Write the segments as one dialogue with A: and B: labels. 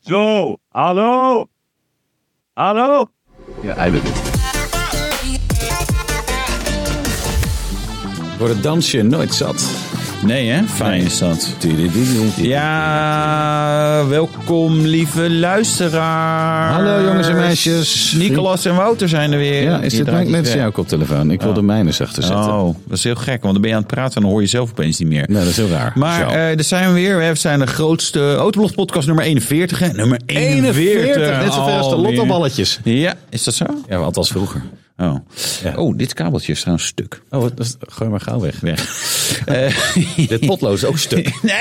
A: Zo, hallo? Hallo?
B: Ja, hij bent het.
C: Wordt het dansje nooit zat.
B: Nee, hè? Fijn is dat. Ja, welkom lieve luisteraar.
C: Hallo, jongens en meisjes.
B: Nicolas en Wouter zijn er weer.
C: Ja, is
B: Hier
C: dit
B: draait
C: mijn- net
B: iets
C: jouw koptelefoon? Ik wilde mijne zachter
B: weg.
C: zetten.
B: Oh, dat is heel gek, want dan ben je aan het praten en dan hoor je zelf opeens niet meer.
C: Nou, dat is heel raar.
B: Maar
C: Zo.
B: eh daar zijn we weer. We zijn de grootste Autoblog-podcast nummer 41. Hè? Nummer 41.
C: Net zoveel als de
B: alweer.
C: lottoballetjes.
B: Oh, Ja, is dat zo?
C: Ja, althans vroeger.
B: Oh. oh, dit kabeltje is trouwens stuk.
C: Oh, dat is, gooi maar gauw weg.
B: Weg. Eh,
C: Dit potlood is ook stuk.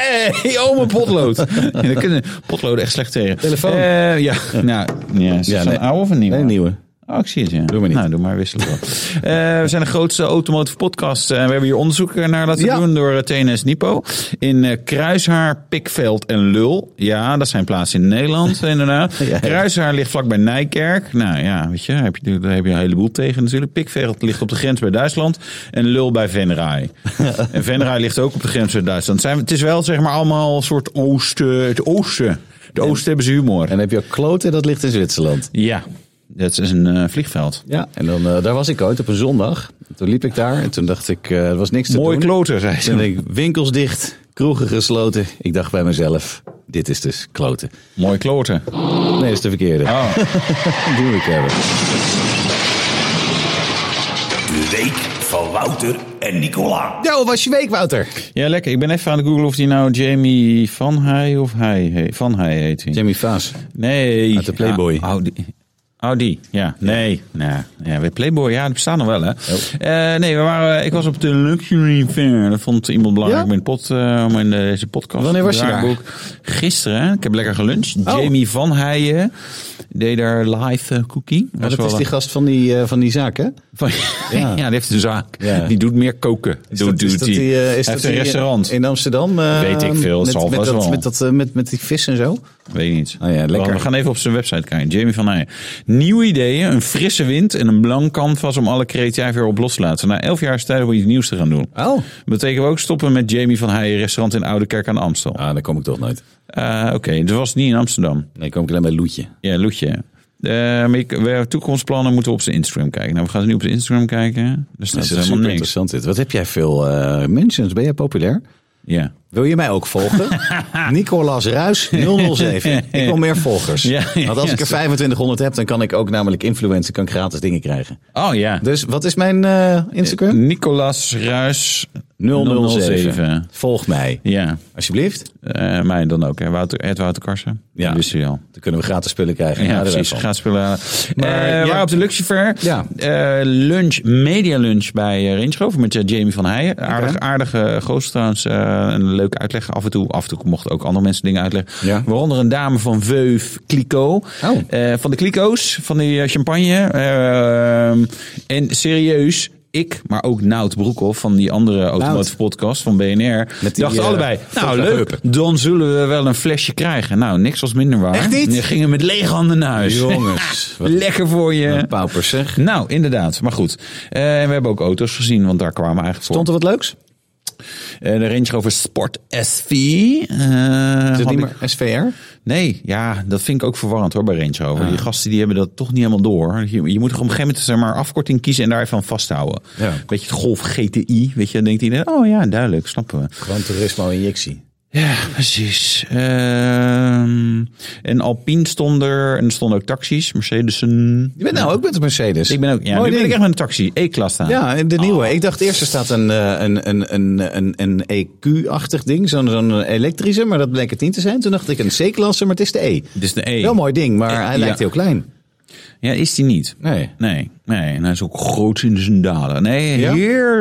B: Nee, oh mijn potlood. Ja, Daar kunnen potloden echt slecht tegen.
C: Telefoon.
B: Eh, ja. Nou, ja, is
C: Ja,
B: het
C: nee.
B: een oude of een nieuwe?
C: Nee, nieuwe.
B: Oh, ik zie het, ja.
C: Doe maar niet.
B: Nou, doe maar wisselen. wel. Eh, we zijn de grootste automotive podcast. eh, en we hebben hier onderzoek naar laten
C: Ja.
B: doen door eh, TNS Nipo. In eh, Kruishaar, Pikveld en Lul. Ja, dat zijn plaatsen in Nederland, inderdaad.
C: Ja, ja.
B: Kruishaar ligt vlakbij Nijkerk. Nou ja, weet je, daar heb je, daar heb je een heleboel tegen natuurlijk. Pikveld ligt op de grens bij Duitsland. En Lul bij Venray. en Venray ligt ook op de grens bij Duitsland. Het Zijn, het is wel zeg maar allemaal een soort oosten. Het oosten. De oosten hebben ze humor.
C: En dan heb je ook kloten, dat ligt in Zwitserland.
B: Ja, dat is een eh, vliegveld.
C: Ja, en dan, eh, daar was ik ooit op een zondag. Toen liep ik daar en toen dacht ik, eh, er was niks te
B: Mooi
C: doen.
B: kloten, zei ze.
C: Toen denk ik, winkels dicht, kroegen gesloten. Ik dacht bij mezelf, dit is dus kloten.
B: Mooi kloten.
C: Nee, dat is de verkeerde.
B: Oh.
C: Die moet ik hebben.
D: De week van Wouter en Nicola.
C: Yo, was je week, Wouter?
B: Ja, lekker. Ik ben even aan het googlen of die nou Jamie Van Hij of Hij heet. Van Hij heet hij.
C: Jamie Vaas.
B: Nee.
C: Uit de Playboy.
B: Ah, oh, die. Oh, die. Ja, nee. Nou, ja, bij Playboy, ja, die bestaan nog wel, hè.
C: Oh.
B: Eh, nee, we waren, ik was op de Luxury Fair. Dat vond iemand belangrijk
C: Ja?
B: om in, de pot, eh, om in deze podcast
C: Wanneer was je Oh.
B: draaiboek. Gisteren, hè. Ik heb lekker geluncht. Jamie Van Heijen deed daar live eh, cooking. Was
C: Maar Oh, dat
B: wel
C: is
B: een-
C: die gast van die, eh, van die zaak, hè?
B: Van- ja. die heeft een zaak.
C: Ja.
B: Die doet meer koken. Doet-
C: dat-
B: doet
C: dat
B: die.
C: die, eh,
B: Hij
C: dat
B: heeft
C: die,
B: een
C: eh,
B: restaurant.
C: In Amsterdam. eh,
B: Weet ik veel,
C: Met,
B: zal
C: met,
B: vast
C: dat,
B: wel.
C: Met, dat, eh, met, met die vis en zo.
B: Weet ik niet.
C: Oh ja, lekker.
B: We gaan even op zijn website kijken. Jamie van Heijen. Nieuwe ideeën, een frisse wind en een blank canvas om alle creativiteit weer op los te laten. Na elf jaar is het tijd om iets nieuws te gaan doen.
C: Oh.
B: Betekent we ook stoppen met Jamie van Heijen restaurant in Oude Kerk aan Amstel.
C: Ah, daar kom ik toch nooit.
B: Eh, Oké, dus was het niet in Amsterdam.
C: Nee, kom ik alleen bij Loetje.
B: Ja, Loetje. Eh, maar ik- we- toekomstplannen moeten we op zijn Instagram kijken. Nou, we gaan ze nu op zijn Instagram kijken. Daar staat
C: Dat is toch
B: helemaal
C: super
B: niks.
C: interessant dit. Wat heb jij veel eh mentions? Ben jij populair?
B: Ja.
C: Wil je mij ook volgen? Nicolas Ruis 007. Ik wil meer volgers.
B: Ja, ja,
C: Want als ik er
B: ja.
C: 2500 heb, dan kan ik ook namelijk influencer, kan ik gratis dingen krijgen.
B: Oh ja.
C: Dus wat is mijn eh, Instagram?
B: Nicolas Ruis
C: 007.
B: 007.
C: Volg mij,
B: Ja.
C: alsjeblieft.
B: Eh, mij dan ook. Hè. Wouter, Ed Wouter Karsen.
C: Ja.
B: Dat wist je al.
C: Dan kunnen we gratis spullen krijgen.
B: Ja,
C: Daar
B: precies.
C: van.
B: Gaat spullen halen.
C: Maar,
B: Eh,
C: ja.
B: we waren op de Luxe Fair.
C: Ja.
B: Eh, lunch, media lunch bij eh, Range Rover met eh, Jamie van Heijen. Aardig, aardige gozer trouwens. eh, een leuke uitleg af en toe. Af en toe mochten ook andere mensen dingen uitleggen.
C: Ja. Oh.
B: Waaronder een dame van Veuve Clicquot. Eh, van de Clico's, van die eh, champagne. Eh, en serieus... Ik, maar ook Nout Broekhoff van die andere automotive podcast van BNR.
C: Met die,
B: dachten
C: eh,
B: allebei, nou
C: Volkswagen
B: leuk,
C: Heupen.
B: dan zullen we wel een flesje krijgen. Nou, niks was minder waar.
C: Echt niet?
B: We gingen met lege handen naar huis.
C: Jongens, wat
B: Lekker voor je.
C: een paupers zeg.
B: Nou, inderdaad. Maar goed. Eh, en we hebben ook auto's gezien, want daar kwamen we eigenlijk
C: Stond er wat leuks?
B: voor. Eh, de Range Rover Sport SV. eh,
C: Is het
B: had
C: niet
B: ik-
C: meer SVR?
B: Nee, ja, dat vind ik ook verwarrend hoor bij Range Rover.
C: Ah.
B: Die gasten die hebben dat toch niet helemaal door. Je, je moet toch op een gegeven moment zeg maar afkorting kiezen en daar even aan vasthouden.
C: Ja.
B: Weet je, het Golf GTI, weet je, dan denkt iedereen, oh ja, duidelijk, snappen we.
C: Gran Turismo injectie.
B: Ja, precies. Ehm, en Alpine stond er. En er stonden ook taxis. Mercedesen.
C: Je bent nou ook met de Mercedes.
B: Ik ben ook. Ja,
C: Mooi
B: nu ben ik
C: ding.
B: echt met Oh. een taxi. E-klasse aan.
C: Ja, en de nieuwe. Ik dacht eerst er staat een, eh, een, een, een, een, een EQ-achtig ding, zo'n zo'n elektrische, maar dat bleek het niet te zijn. Toen dacht ik een C-klasse, maar het is de E.
B: Het is de E.
C: Wel mooi ding, maar hij
B: Ja.
C: lijkt heel klein.
B: Ja, is die niet.
C: Nee.
B: Nee, nee. En hij is ook groot in zijn dalen. Nee,
C: Ja?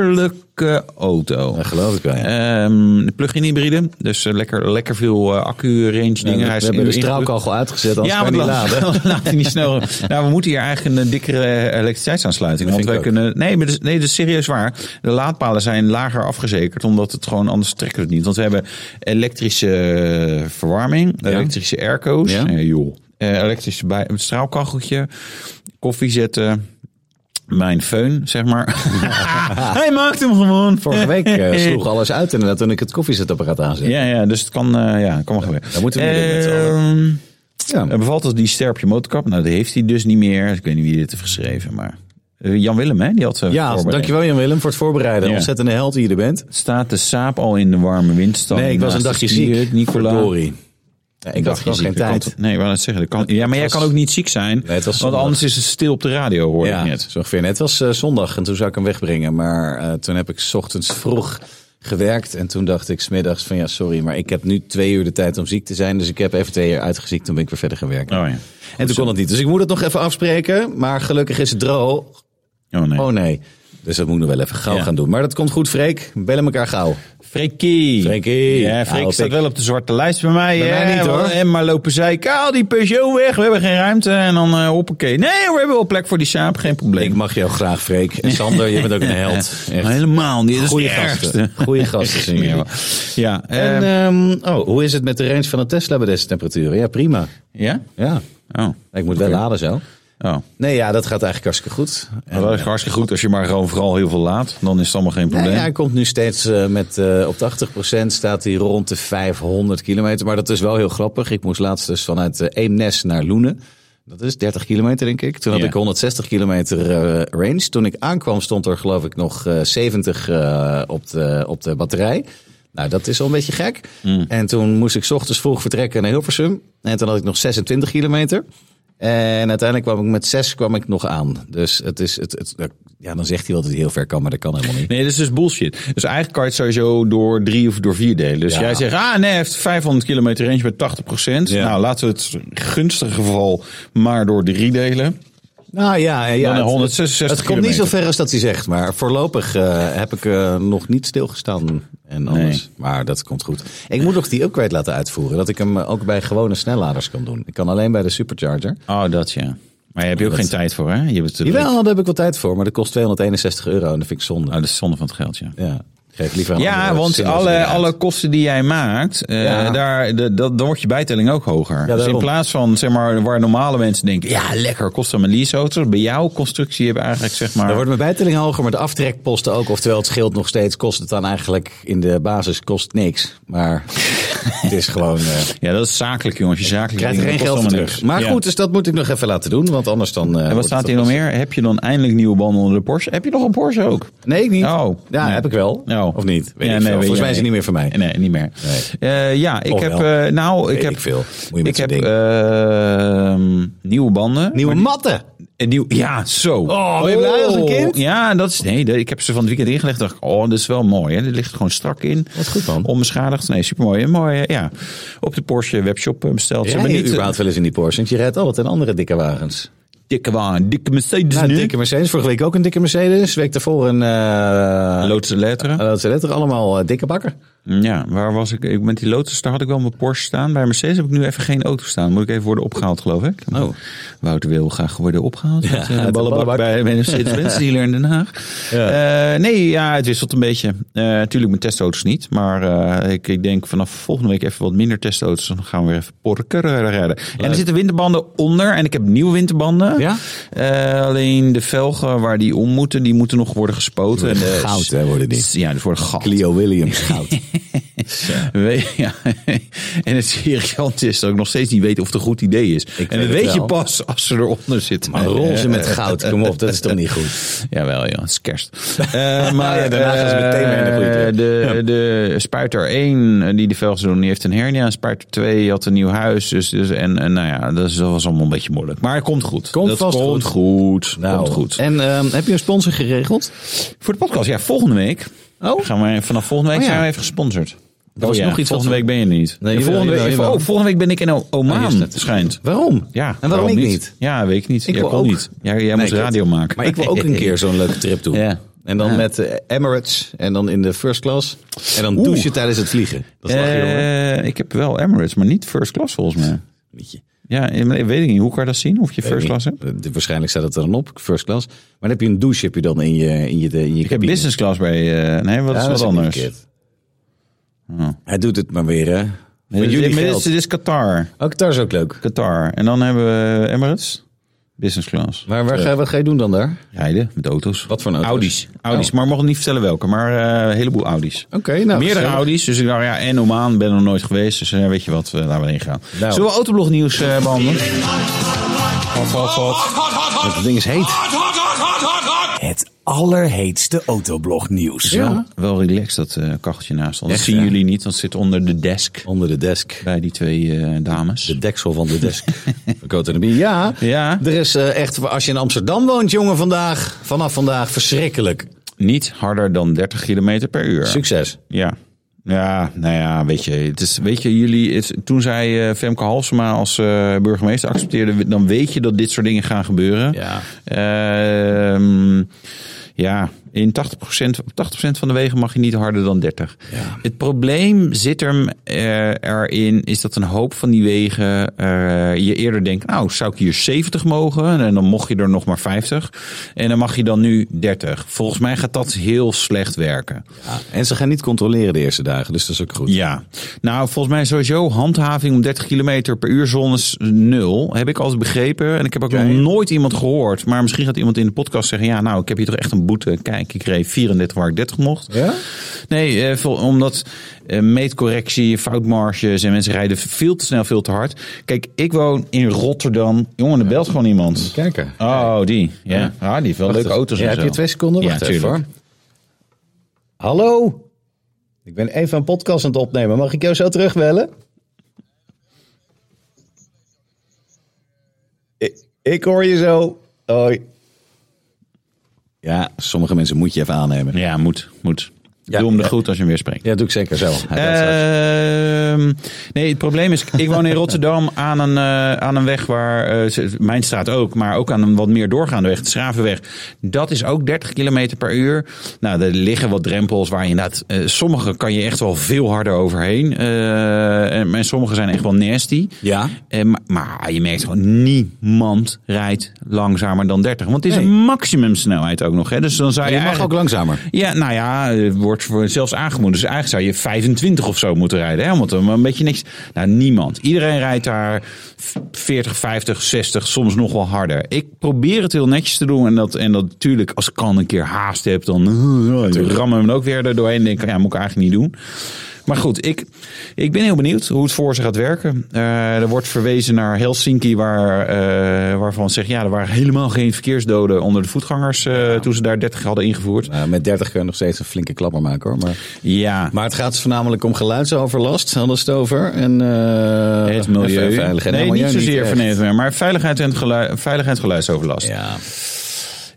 B: heerlijke auto.
C: Dat geloof ik wel, ja.
B: Ehm, de plug-in hybride. Dus eh, lekker, lekker veel eh, accu-range dingen.
C: we
B: Hij is
C: hebben
B: in-
C: de straalkachel uitgezet, anders
B: Ja,
C: kan
B: maar
C: je niet
B: dan
C: laden.
B: laat hij niet snel. Nou, we moeten hier eigenlijk een eh, dikkere eh, elektriciteitsaansluiting. Want
C: vind
B: wij
C: ik ook.
B: kunnen. Nee, maar dat is- nee, dat is serieus waar. De laadpalen zijn lager afgezekerd, omdat het gewoon anders trekken we het niet. Want we hebben elektrische eh, verwarming, elektrische airco's.
C: Ja.
B: Eh, joh. Eh, elektrische bij, een straalkacheltje, koffie zetten. Mijn föhn, zeg maar. Hij maakt hem gewoon.
C: Vorige week eh, sloeg alles uit inderdaad toen ik het koffiezetapparaat aanzet.
B: Ja, ja, dus het kan, eh ja, kan wel gebeuren.
C: daar moeten we niet in met z'n
B: Ehm,
C: Ja.
B: Er bevalt als die ster op je motorkap. Nou, die heeft hij dus niet meer. Ik weet niet wie dit heeft geschreven, maar... eh, Jan Willem, hè? Die had ze
C: Ja,
B: voorbereid.
C: dankjewel Jan-Willem voor het voorbereiden.
B: Ja.
C: Ontzettende held die je er bent.
B: Staat de saap al in de warme windstand?
C: Nee, ik was een
B: naast
C: dagje
B: de skiën,
C: ziek.
B: Nicola.
C: Verdorie. Ja, ik
B: Een
C: dacht,
B: dagje
C: was
B: ziek,
C: geen
B: dat
C: tijd.
B: kan toch- nee, ik wou net zeggen. dat kan, ja, maar jij kan ook niet ziek zijn.
C: Nee, het was
B: want
C: zondag.
B: anders is het stil op de radio, hoor
C: ja,
B: ik net.
C: zo ongeveer. Het was eh, zondag en toen zou ik hem wegbrengen. Maar eh, toen heb ik 's ochtends vroeg gewerkt. En toen dacht ik smiddags van ja, sorry, maar ik heb nu twee uur de tijd om ziek te zijn. Dus ik heb even twee uur uitgeziekt. Toen ben ik weer verder gaan werken.
B: Oh ja.
C: en toen kon het niet. Dus ik moet het nog even afspreken. Maar gelukkig is het droog.
B: Oh nee.
C: Oh nee. Dus dat moet ik nog wel even gauw
B: Ja.
C: gaan doen. Maar dat komt goed, Freek. Bellen elkaar gauw.
B: Freekie.
C: Freekie.
B: Ja, Freek
C: Ja, Nou, op
B: staat
C: ik.
B: wel op de zwarte lijst bij mij.
C: Bij
B: ja,
C: mij niet, hoor.
B: En maar lopen zij, kaal die Peugeot weg, we hebben geen ruimte. En dan eh hoppakee. Nee, we hebben wel plek voor die saap, geen
C: Ik
B: probleem.
C: mag jou graag, Freek. En Sander, je bent ook een held.
B: Maar
C: Echt.
B: Helemaal niet, dat is
C: Goeie
B: het ergste.
C: gasten. Goeie gasten zien jullie.
B: Ja, ja,
C: En,
B: ehm,
C: ehm, oh, hoe is het met de range van een Tesla bij deze temperaturen? Ja, prima.
B: ja?
C: Ja,
B: Oh.
C: ik moet wel laden zo.
B: oh.
C: Nee, ja, dat gaat eigenlijk hartstikke goed. En,
B: Nou, dat is hartstikke goed als je maar gewoon vooral heel veel laat. Dan is het allemaal geen
C: nou
B: probleem.
C: ja, hij komt nu steeds eh, met, eh, op de 80% staat hij rond de 500 kilometer. Maar dat is wel heel grappig. Ik moest laatst dus vanuit eh, Eemnes naar Loenen. Dat is 30 kilometer, denk ik. Toen had
B: Ja.
C: ik 160 kilometer eh, range. Toen ik aankwam stond er geloof ik nog eh, 70 eh, op, de, op de batterij. Nou, dat is al een beetje gek.
B: Hmm.
C: En toen moest ik 's ochtends vroeg vertrekken naar Hilversum. En toen had ik nog 26 kilometer. En uiteindelijk kwam ik met 6 kwam ik nog aan. Dus het is, het, het, ja, dan zegt hij wel dat hij heel ver kan, maar dat kan helemaal niet.
B: Nee, dat is dus bullshit. Dus eigenlijk kan je het sowieso door drie of door vier delen. Dus
C: Ja.
B: jij zegt, ah nee, hij heeft 500 kilometer range bij 80
C: Ja.
B: Nou, laten we het gunstige geval maar door drie delen.
C: Nou ja, ja
B: Dan
C: het-
B: 166
C: Het, komt niet zo
B: kilometer.
C: ver als dat hij zegt, maar voorlopig eh, heb ik eh, nog niet stilgestaan en anders.
B: Nee.
C: Maar dat komt goed. Ik moet nog die upgrade laten uitvoeren, dat ik hem eh, ook bij gewone snelladers kan doen. Ik kan alleen bij de supercharger.
B: Oh, dat ja. Maar je hebt je ook
C: Dat-
B: geen tijd voor, hè? Je hebt het
C: Jawel, daar heb ik wel tijd voor, maar dat kost 261 euro en dat vind ik zonde.
B: Oh, dat is zonde van het geld, ja.
C: Ja, geef liever aan
B: Ja,
C: andere
B: want
C: zinloze
B: alle,
C: dingen uit.
B: alle kosten die jij maakt, eh,
C: Ja.
B: daar, de, dat, dan wordt je bijtelling ook hoger. dus in
C: daarom.
B: plaats van zeg maar, waar normale mensen denken, ja lekker, kost hem een leaseauto. Bij jouw constructie hebben eigenlijk zeg maar...
C: Dan wordt mijn bijtelling hoger, maar de aftrekposten ook. Oftewel, het scheelt nog steeds, kost het dan eigenlijk in de basis kost niks. Maar het is gewoon... eh,
B: Ja, dat is zakelijk jongens. Je zakelijk
C: krijgt er geen geld voor terug. Maar goed, dus dat moet ik nog even laten doen, want anders dan... eh,
B: En wat
C: wordt
B: staat
C: het
B: hier nog meer? Heb je dan eindelijk nieuwe banden onder de Porsche? Heb je nog een Porsche ook?
C: Nee, ik niet.
B: Oh.
C: ja,
B: Nee.
C: heb ik wel.
B: Oh.
C: Of niet? Weet
B: Ja,
C: ik
B: nee,
C: veel.
B: weet
C: Volgens
B: je-
C: mij is het niet meer voor mij.
B: Nee, niet meer. Eh, ja, ik
C: Of
B: heb...
C: wel.
B: eh, nou, ik
C: Weet
B: heb...
C: ik veel. Moet je met
B: Ik
C: zo'n
B: heb
C: ding.
B: ehm, nieuwe banden.
C: Nieuwe matten.
B: Een nieuw, ja, zo.
C: Oh, ben je blij als een kind?
B: Ja, dat is, nee, dat- ik heb ze van het weekend ingelegd. dacht ik, oh, dat is wel mooi. Hè? Dit ligt er gewoon strak in.
C: Wat goed, man.
B: Onbeschadigd. Nee, supermooi. Een mooie, ja. Op de Porsche webshop eh, besteld.
C: Ze
B: ze hebben
C: niet
B: niet
C: überhaupt wel eens in die Porsche. Want je rijdt altijd in andere dikke wagens.
B: dikke waan, dikke Mercedes
C: Nou,
B: nu.
C: een dikke Mercedes. Vorige week ook een dikke Mercedes. Week daarvoor een... eh
B: Loodse letteren.
C: eh, Loodse letter. Allemaal eh, dikke bakken.
B: Ja, waar was ik? ik? Met die Lotus, daar had ik wel mijn Porsche staan. Bij Mercedes heb ik nu even geen auto staan. Moet ik even worden opgehaald, geloof ik.
C: Oh.
B: Wouter wil graag worden opgehaald. Ja,
C: uit de ballenbak.
B: bij bij Mercedes-Benz dealer in Den Haag. Eh, nee, ja, het wisselt een beetje. Natuurlijk tuurlijk mijn testauto's niet. Maar eh, ik, ik denk vanaf volgende week even wat minder testauto's. Dan gaan we weer even porker rijden. En er zitten winterbanden onder. En ik heb nieuwe winterbanden.
C: Ja?
B: Eh, alleen de velgen waar die om moeten, die moeten nog worden gespoten. En de-
C: Goud, hè, worden die.
B: Ja, die worden goud.
C: Clio Williams. Goud.
B: We- ja. En het irritant is dat ik nog steeds niet weet of het een goed idee is. en
C: weet
B: dat
C: het
B: weet je
C: wel.
B: pas als ze eronder zitten. eh,
C: Maar roze met goud. Kom op, dat is toch niet goed?
B: Jawel, ja, het is kerst. Eh, maar
C: Ja, daarna gaan ze meteen weer in de goede
B: eh,
C: trek.
B: de, de Spuiter 1, eh, die de velgzoen, die heeft een hernia. Spuiter 2 had een nieuw huis. Dus, dus, en, en nou ja, dat, is, dat was allemaal een beetje moeilijk. Maar het komt goed.
C: Komt
B: dat
C: vast
B: komt
C: goed.
B: goed. komt goed.
C: En ehm, heb je een sponsor geregeld?
B: Voor de podcast, ja, volgende week.
C: Oh.
B: Gaan we, vanaf volgende week
C: Oh, ja.
B: zijn we even gesponsord. Oh,
C: was nog iets
B: volgende
C: wat-
B: week ben je er niet.
C: Nee,
B: Ja,
C: jawel,
B: volgende,
C: jawel,
B: week,
C: jawel.
B: oh, volgende week ben ik in O-
C: Oh,
B: Oman,
C: hier staat het.
B: schijnt.
C: Waarom?
B: Ja,
C: en waarom ik niet?
B: Ja, weet ik niet.
C: Ik
B: jij
C: wil
B: kon
C: ook.
B: niet. Jij, jij moest
C: Nee, klopt.
B: radio maken.
C: Maar ik wil ook een keer zo'n leuke trip doen.
B: Ja.
C: En dan met eh, Emirates en dan in de first class. En dan douchen tijdens het vliegen. Dat is lachen, jongen.
B: Eh, ik heb wel Emirates, maar niet first class volgens mij. Ja, eh, maar weet ik niet. Hoe kan je dat zien? Of je first class hebt?
C: Eh, Waarschijnlijk staat het er dan op, first class. Maar dan heb je een douche heb je dan in je, in je, in je
B: Ik heb business class bij... eh, nee, wat is wat anders? Oh. Nee,
C: Hij doet het maar weer, hè. Met
B: dit-
C: jullie
B: maar dit, is-
C: geld. Oh,
B: dit is Qatar.
C: Ook daar is ook leuk.
B: Qatar. En dan hebben we Emirates. Business class.
C: Maar waar ga, wat ga je doen dan daar?
B: Rijden met auto's. Oh.
C: Wat voor auto's?
B: Audi's. Audi's, maar ik mocht niet vertellen welke, maar eh, een heleboel Audi's.
C: Oké, nou.
B: Meerdere
C: gezellig.
B: Audi's, dus ik dacht, ja, en Omaan, ben er nog nooit geweest. Dus eh, weet je wat, eh, laten we erin gaan.
C: Nou.
B: Zullen we autoblog nieuws eh behandelen?
C: Dat ding is heet.
D: Het allerheetste autoblog nieuws.
B: Wel, Oh, wel relaxed dat eh, kacheltje naast ons. Dat
C: Echt,
B: zien
C: ja.
B: jullie niet, want het zit onder de desk
C: Onder de desk.
B: bij die twee eh, dames.
C: De deksel van de desk. Van Coat en de Bie. Ja,
B: Ja.
C: er is eh, echt, als je in Amsterdam woont, jongen, vandaag, vanaf vandaag, verschrikkelijk.
B: Niet harder dan 30 km per uur.
C: Succes.
B: Ja. Ja, nou ja, weet je, het is, weet je jullie, het- toen zij eh Femke Halsema als eh, burgemeester accepteerde, dan weet je dat dit soort dingen gaan gebeuren.
C: Ja.
B: Ehm, ja, in 80%, op 80% van de wegen mag je niet harder dan 30. Het probleem zit hem eh, erin, is dat een hoop van die wegen eh, je eerder denkt, nou zou ik hier 70 mogen en dan mocht je er nog maar 50 en dan mag je dan nu 30. Volgens mij gaat dat heel slecht werken.
C: En ze gaan niet controleren de eerste dagen, dus dat is ook goed.
B: Ja, nou volgens mij sowieso handhaving om 30 km per uur zones nul. Heb ik altijd begrepen. En ik heb ook nog nooit iemand gehoord. Maar misschien gaat iemand in de podcast zeggen. Ja, nou ik heb hier toch echt een boete. Kijk, ik kreeg 34 waar ik 30 mocht.
C: Ja?
B: Nee, eh, vol- omdat eh, meetcorrectie, foutmarges en mensen rijden veel te snel, veel te hard. Kijk, ik woon in Rotterdam. Jongen, er belt gewoon iemand.
C: Kijken.
B: Oh, die. Ja, ah, die heeft wel leuke auto's en
C: Ja, heb
B: zo.
C: je twee seconden?
B: Ja,
C: Wacht even hoor.
B: tuurlijk.
C: Hallo? Ik ben even een podcast aan het opnemen. Mag ik jou zo terugbellen? Ik, ik hoor je zo. Hoi. Ja, sommige mensen moet je even aannemen.
B: Ja, moet, moet.
C: Ja.
B: Doe hem de
C: Ja.
B: groet als je hem weer spreekt.
C: Ja, doe ik zeker zo. Eh,
B: Ehm, nee, het probleem is, ik woon in Rotterdam aan een, eh, aan een weg waar, eh, ze- mijn straat ook, maar ook aan een wat meer doorgaande weg, de Schravenweg. Dat is ook 30 km per uur. Nou, er liggen wat drempels waar je inderdaad, eh, sommige kan je echt wel veel harder overheen. Eh, en, en sommige zijn echt wel nasty.
C: Ja.
B: Eh, maar, maar je merkt gewoon, niemand rijdt langzamer dan 30. Want het is
C: Nee.
B: een maximumsnelheid ook nog. Hè? Dus dan zou je,
C: je mag
B: eigenlijk-
C: ook langzamer.
B: ja, nou ja, eh, wordt voor- zelfs aangemoedigd. Dus eigenlijk zou je 25 of zo moeten rijden. Hè? Want eh, een beetje niks. Nou, niemand. Iedereen rijdt daar 40, 50, 60, soms nog wel harder. Ik probeer het heel netjes te doen. En dat, en dat natuurlijk, als ik kan een keer haast heb, dan eh, rammen we hem ook weer er doorheen. En denk ik, ja, moet ik eigenlijk niet doen. Maar goed, ik, ik ben heel benieuwd hoe het voor ze gaat werken. Eh, er wordt verwezen naar Helsinki, waar, eh, waarvan zegt ja, er waren helemaal geen verkeersdoden onder de voetgangers eh, toen ze daar 30 hadden ingevoerd.
C: Nou, met 30 kun je nog steeds een flinke klapper maken hoor. Maar,
B: Ja,
C: maar het gaat dus voornamelijk om geluidsoverlast, hadden ze het over. En, eh,
B: het milieu.
C: en veiligheid.
B: nee,
C: Nou, milieu
B: niet zozeer
C: echt.
B: van het meer, maar veiligheid en, geluid, veiligheid en geluidsoverlast.
C: Ja.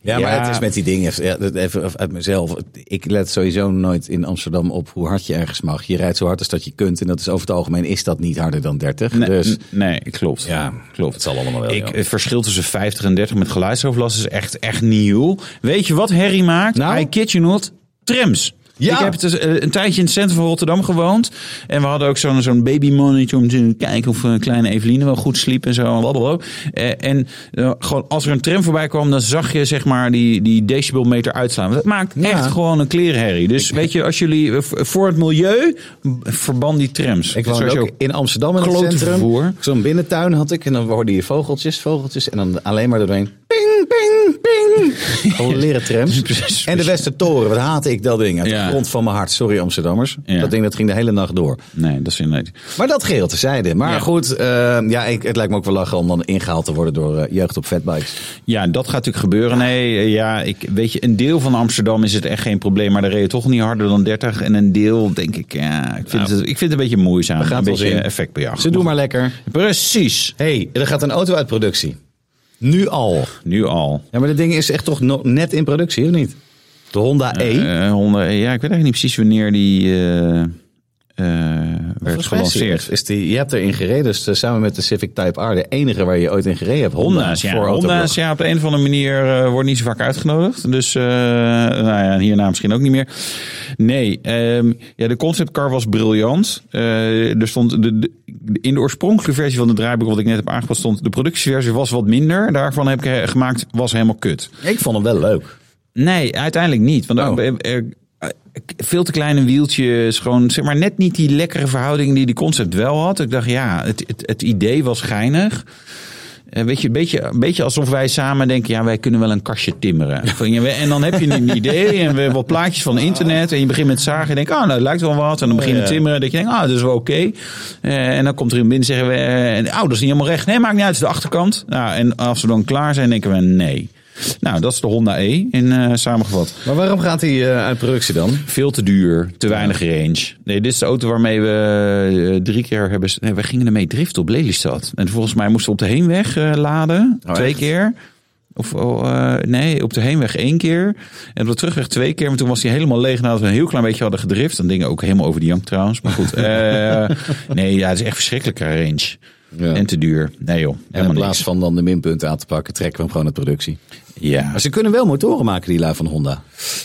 C: Ja, maar
B: Ja.
C: het is met die dingen. ja, dat Even uit mezelf. Ik let sowieso nooit in Amsterdam op hoe hard je ergens mag. Je rijdt zo hard als dat je kunt. En dat is over het algemeen is dat niet harder dan 30.
B: Nee,
C: dus
B: n- nee, klopt.
C: Ja,
B: klopt.
C: het zal allemaal wel,
B: Ik,
C: ja.
B: Het verschil tussen 50 en 30 met geluidsoverlast is echt, echt nieuw. Weet je wat herrie maakt?
C: Nou?
B: I kid you not. Trams.
C: Ja.
B: Ik heb het dus, eh, een tijdje in het centrum van Rotterdam gewoond. En we hadden ook zo'n zo'n babymonitor om te kijken of eh, kleine Eveline wel goed sliep en zo. en blablabla. Eh, en eh, gewoon als er een tram voorbij kwam, dan zag je zeg maar die, die decibelmeter uitslaan. Dat maakt
C: Ja.
B: echt gewoon een klerenherrie. Dus weet je, als jullie eh, v- voor het milieu, m- verban die trams.
C: ik woon
B: Sowieso.
C: ook in Amsterdam in het
B: klote vervoer.
C: centrum. Zo'n binnentuin had ik. En dan hoorde je vogeltjes, vogeltjes. En dan alleen maar doorheen. Ping, ping, ping. Gewoon leren trams.
B: Precies.
C: En de Westertoren, wat haatte ik dat ding. Uit
B: Ja.
C: de grond van mijn hart. Sorry Amsterdammers.
B: Ja.
C: Dat ding dat ging de hele nacht door.
B: Nee, dat is inderdaad.
C: Maar dat geheel tezijde. Maar
B: Ja.
C: goed, eh, ja, ik, het lijkt me ook wel lachen om dan ingehaald te worden door eh, jeugd op fatbikes.
B: Ja, dat gaat natuurlijk gebeuren. Nee, eh, ja, ik weet je, een deel van Amsterdam is het echt geen probleem, maar daar reed je toch niet harder dan 30. En een deel, denk ik, ja, ik vind, het, ik vind het een beetje moeizaam.
C: gaan
B: een
C: het wel
B: beetje
C: zien.
B: effectbejaagd.
C: Ze doen maar lekker.
B: Precies,
C: Hé, hey, er gaat een auto uit productie. Nu al.
B: nu al.
C: Ja, maar dat ding is echt toch nog net in productie, of niet? De Honda E.
B: Eh, Honda, ja, ik weet eigenlijk niet precies wanneer die eh, eh, werd
C: Volgens mij is die-
B: gelanceerd.
C: Is die, je hebt erin gereden, dus eh, samen met de Civic Type R, de enige waar je ooit in gereden hebt.
B: Honda's, ja.
C: Voor
B: Honda's,
C: Autoblog.
B: ja, op de een of andere manier eh, worden niet zo vaak uitgenodigd. Dus eh, nou ja, hierna misschien ook niet meer. Nee, ehm, ja, de conceptcar was briljant. Eh, er stond de, de- in de oorspronkelijke versie van de draaiboek, wat ik net heb aangepast, stond de productieversie was wat minder. Daarvan heb ik eh, gemaakt, was helemaal kut.
C: Ik vond hem wel leuk.
B: Nee, uiteindelijk niet. Want ook, eh, eh, eh, veel te kleine wieltjes, gewoon zeg maar net niet die lekkere verhouding die die concept wel had. Ik dacht, ja, het, het, het idee was geinig. Eh, weet je, een beetje, een beetje alsof wij samen denken, ja, wij kunnen wel een kastje timmeren. Van, ja, we- En dan heb je een idee en we hebben wat plaatjes van internet. En je begint met zagen en denkt, ah, nou, het lijkt wel wat. En dan begin je
C: Ja.
B: met timmeren. Dat je denkt, ah, dat is wel oké. Eh, en dan komt er iemand binnen en zeggen we, eh, en, oh, dat is niet helemaal recht. Nee, maakt niet uit, het is de achterkant. Nou, en als we dan klaar zijn, denken we, nee. Nou, dat is de Honda E in eh, samengevat.
C: Maar waarom gaat hij eh, uit productie dan?
B: Veel te duur, te weinig range. Nee, dit is de auto waarmee we eh, drie keer hebben... Nee, we gingen ermee driften op Lelystad. En volgens mij moesten we op de heenweg eh, laden.
C: Oh,
B: twee
C: echt?
B: keer. Of oh, eh, nee, op de heenweg één keer. En op de terugweg twee keer. Maar toen was hij helemaal leeg nadat we een heel klein beetje hadden gedrift. Dan dingen ook helemaal over de jank trouwens. Maar goed. eh, nee, ja, het is echt verschrikkelijke range.
C: Ja.
B: En te duur. Nee joh,
C: En in
B: helemaal
C: plaats
B: niks.
C: van dan de minpunten aan te pakken, trekken we hem gewoon uit productie.
B: Ja.
C: Maar ze kunnen wel motoren maken, die lui van Honda.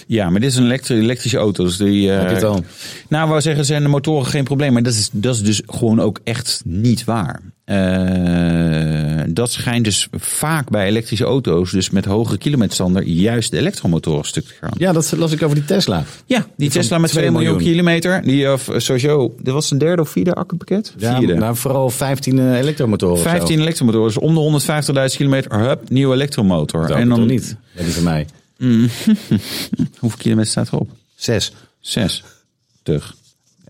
B: ja, maar dit is een elektri- elektrische auto. Dus die, eh,
C: Heb je het al?
B: Nou, wou zeggen, zijn de motoren geen probleem. Maar dat is, dat is dus gewoon ook echt niet waar. Eh, dat schijnt dus vaak bij elektrische auto's, dus met hogere kilometerstander, juist de elektromotoren stuk te gaan.
C: Ja, dat las ik over die Tesla.
B: Ja, die, Tesla met 2
C: 2
B: miljoen,
C: miljoen.
B: kilometer. Die, of, eh, sowieso, dit was een derde of vierde accupakket?
C: Ja,
B: vierde.
C: maar vooral 15 eh, elektromotoren. of zo.
B: 15 elektromotoren, dus om de 150.000 kilometer, hup, nieuwe elektromotor.
C: Dat
B: en dan,
C: toch niet. Ja, die van mij.
B: hoeveel kilometer staat erop?
C: Zes.
B: Zes. Tug.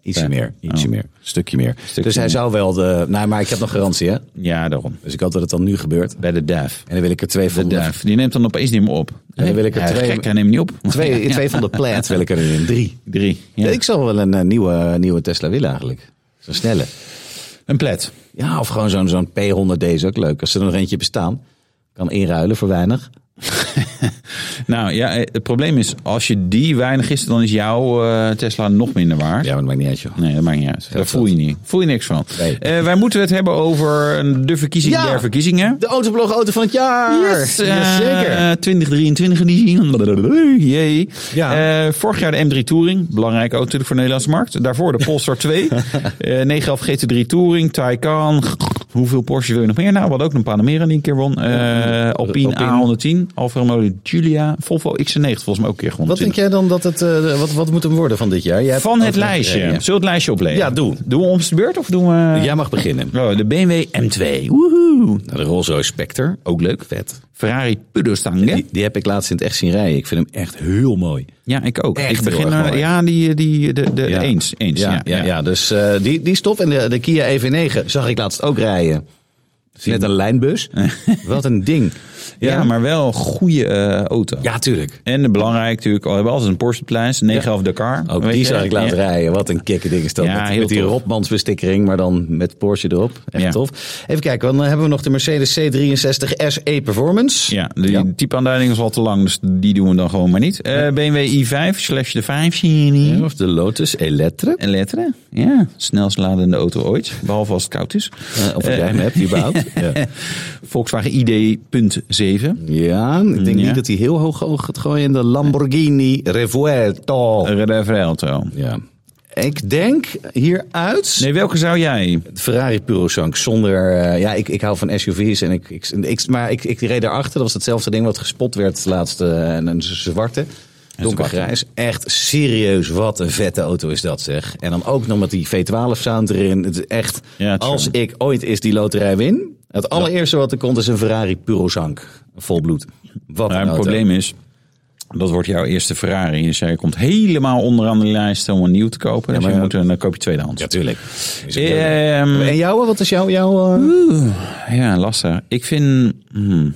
C: Ietsje
B: Ja.
C: meer. Ietsje
B: Oh.
C: meer. Stukje meer.
B: Stukje
C: dus hij
B: meer.
C: zou wel de... Nou, maar ik heb nog garantie, hè?
B: Ja, daarom.
C: Dus ik hoop dat het dan nu gebeurt. En
B: Bij de DAF.
C: dan wil ik er twee
B: De
C: van de...
B: DAF. Die neemt dan opeens niet meer op.
C: dan wil ik er
B: Ja,
C: twee-
B: Gek, hij neemt niet op.
C: Twee, twee van de plaid wil ik erin. Drie.
B: Drie. Ja.
C: Ik zou wel een eh, nieuwe, nieuwe Tesla willen eigenlijk. Zo'n snelle.
B: Een plet.
C: Ja, of gewoon zo'n zo'n P100D is ook leuk. Als er nog eentje bestaan, kan inruilen voor weinig.
B: Nou ja, eh, het probleem is, als je die weinig is, dan is jouw eh, Tesla nog minder waard.
C: Ja, maar dat maakt niet uit, joh.
B: Nee, dat maakt niet uit. Daar voel je niet. Voel je niks van.
C: Nee.
B: Eh, wij moeten het hebben over een- de verkiezing
C: Ja.
B: der verkiezingen.
C: De autoblog auto van het jaar!
B: Yes,
C: Jazeker!
B: eh, 2023 editie. Jee.
C: Ja.
B: Eh, vorig jaar de M3 Touring. Belangrijke auto natuurlijk voor de Nederlandse markt. Daarvoor de Polestar 2. eh 911 GT3 Touring. Taycan. Hoeveel Porsche wil je nog meer? Nou, we hadden ook een Panamera die een keer won. Eh, Alpine, A110. Alfa Romeo Giulia. Volvo XC90 volgens mij ook een keer gewonnen.
C: Wat denk jij dan dat het... eh, wat, wat moet hem worden van dit jaar? Jij hebt
B: Van het
C: overleg-
B: lijstje.
C: Ja, ja.
B: Zullen we het lijstje oplezen?
C: Ja, doe.
B: Doen we ons de beurt of doen we...
C: Jij mag beginnen.
B: Oh, de BMW M2. Woehoe.
C: Nou, de Rolls Royce Spectre, ook leuk, vet.
B: Ferrari Pudostange.
C: Die, die heb ik laatst in het echt zien rijden. Ik vind hem echt heel mooi.
B: Ja, ik ook.
C: Echt
B: ik begin
C: heel erg
B: er-
C: mooi.
B: ja, die, die, de, de, eens. eens
C: Eh, ja, ja, ja. dus eh, die, die stof en de, de Kia EV9 zag ik laatst ook rijden. Het is Net een lijnbus. Wat een ding.
B: Ja, maar wel een goede eh, auto.
C: Ja, tuurlijk.
B: En belangrijk natuurlijk, al hebben we altijd een Porsche Pleins, 911 Dakar.
C: Ook
B: Weet
C: die
B: je?
C: zag ik laten
B: Ja.
C: rijden. Wat een kikke ding is dat.
B: Ja,
C: met,
B: heel
C: met die
B: tof.
C: Robmansbestikkering, maar dan met Porsche erop. Echt
B: Ja.
C: tof. Even kijken, dan eh, hebben we nog de Mercedes C63 SE E Performance.
B: Ja, die
C: Ja.
B: typeaanduiding is al te lang, dus die doen we dan gewoon maar niet. Eh, BMW i5 slash de 5 serie.
C: Of de Lotus Electra.
B: En letteren, ja. Snelst ladende auto ooit, behalve als het koud is.
C: Eh, of jij hem hebt, überhaupt. ja.
B: Volkswagen ID.7.
C: Ja, ik denk
B: Ja.
C: niet dat hij heel hoog oog gaat gooien in de Lamborghini Revuelto.
B: Reverelto.
C: Ja. Ik denk hieruit
B: Nee, welke zou jij?
C: de Ferrari Purosank zonder... eh, ja, ik, ik hou van SUV's, en ik, ik, ik- maar ik, ik reed daarachter. Dat was hetzelfde ding wat gespot werd laatst. eh, en een zwarte, donkergrijs. Echt serieus, wat een vette auto is dat zeg. En dan ook nog met die V12-sound erin. Het is echt,
B: Ja, true.
C: als ik ooit eens die loterij win... Het allereerste wat er komt is een Ferrari Purosank. Volbloed. Wat
B: Nou,
C: een
B: het
C: auto.
B: probleem is, dat wordt jouw eerste Ferrari. Dus jij komt helemaal onderaan de lijst om een nieuw te kopen. dus
C: maar-
B: je moet, een- dan koop je tweedehands.
C: Ja, tuurlijk.
B: Ehm,
C: En jouw, wat is jouw... jouw eh,
B: ja, lastig. Ik vind... hmm.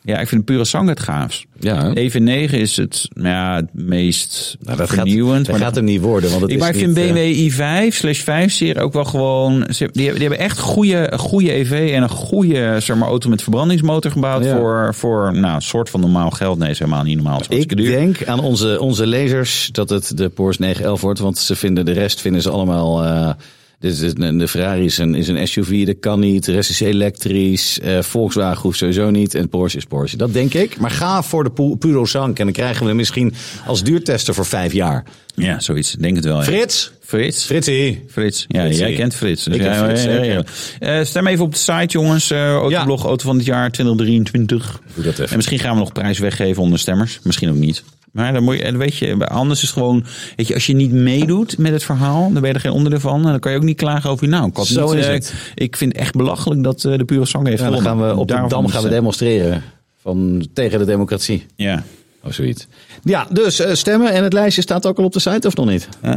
B: ja, ik vind pure sang het gaafst.
C: Ja.
B: Even 9 is het, nou ja, het meest
C: Nou, dat gaat,
B: vernieuwend.
C: dat
B: maar
C: gaat hem niet worden. Want het
B: ik,
C: is
B: maar ik
C: niet,
B: vind
C: eh,
B: BMW i5 slash 5 serie ook wel gewoon... ze- Die, hebben- die hebben echt goede, goede EV en een goede zeg maar, auto met verbrandingsmotor gebouwd...
C: Ja.
B: voor, voor nou, een soort van normaal geld. Nee, is helemaal niet normaal. Het is
C: ik
B: hartstikke duur.
C: denk aan onze, onze lezers dat het de Porsche 911 wordt. Want ze vinden de rest vinden ze allemaal... eh, dus de, de Ferrari is een, is een SUV, dat kan niet. De rest is elektrisch. eh, Volkswagen hoeft sowieso niet. En Porsche is Porsche. Dat denk ik. Maar ga voor de Pu- Puro Sank. En dan krijgen we hem misschien als duurtester voor vijf jaar.
B: Ja, zoiets. Denk het wel. ja.
C: Frits!
B: Frits.
C: Fritsie!
B: Frits. Ja,
C: Fritsie.
B: jij kent Frits. dus
C: Ik ken
B: ja,
C: Frits,
B: ja, ja,
C: zeker.
B: ja. Eh, stem even op de site, jongens. Eh Autoblog Auto van het jaar 2023.
C: Doe dat even.
B: En misschien gaan we nog prijs weggeven onder stemmers. Misschien ook niet. Maar dan moet je, en weet je, anders is gewoon, weet je, als je niet meedoet met het verhaal, dan ben je er geen onderdeel van. En dan kan je ook niet klagen over, nou, ik had
C: Zo
B: niet,
C: is
B: eh,
C: het.
B: Ik vind het echt belachelijk dat eh, de pure zang heeft
C: Ja, dan
B: gewonnen.
C: gaan we op de
B: Daarom
C: dam
B: is
C: gaan we
B: het-
C: demonstreren van, tegen de democratie.
B: Ja.
C: Of Oh, zoiets. Ja, dus eh, stemmen en het lijstje staat ook al op de site, of nog niet?
B: Eh,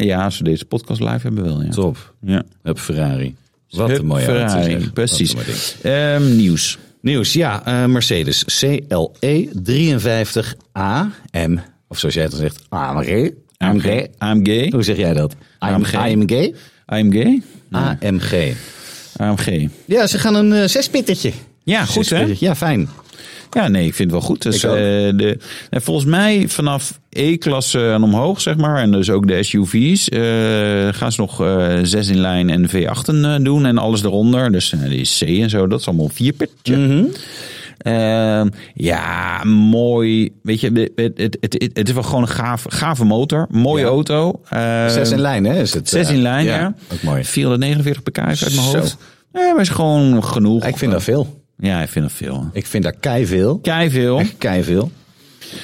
B: ja, als we deze podcast live hebben, wel, ja.
C: Top.
B: ja.
C: Hup Ferrari. Wat
B: Hup,
C: een mooie
B: Ferrari,
C: auto, zeg. Wat
B: Precies.
C: een mooi ding.
B: Ehm, nieuws.
C: Nieuws, ja. eh, Mercedes E CLE 53 AM. Of zoals jij het dan zegt, AMG. Oh, AMG.
B: AMG.
C: Hoe zeg jij dat?
B: AMG.
C: AMG.
B: AMG.
C: AMG.
B: AMG.
C: Ja, ze gaan een eh, zespittertje.
B: Ja, goed hè?
C: Zespittertje. Ja, fijn.
B: Ja, nee, ik vind het wel goed. Dus,
C: Ik ook.
B: eh, de, en volgens mij vanaf E-klasse en omhoog, zeg maar, en dus ook de SUV's, eh, gaan ze nog eh, zes in lijn en V8 eh, doen en alles eronder. Dus eh, die C en zo, dat is allemaal vierpertje.
C: Mhm.
B: Eh, ja, mooi. Weet je, het, het, het, het, het is wel gewoon een gaaf, gave motor. Mooie
C: Ja.
B: auto. Eh,
C: Zes in lijn, hè? Is het,
B: Zes
C: eh,
B: in lijn, ja.
C: Ook mooi.
B: 449 pk is uit mijn
C: Zo.
B: hoofd. Nee, maar is gewoon genoeg.
C: Ik vind dat veel.
B: Ja, ik vind dat veel.
C: Ik vind daar kei veel.
B: Kei veel.
C: Echt kei veel.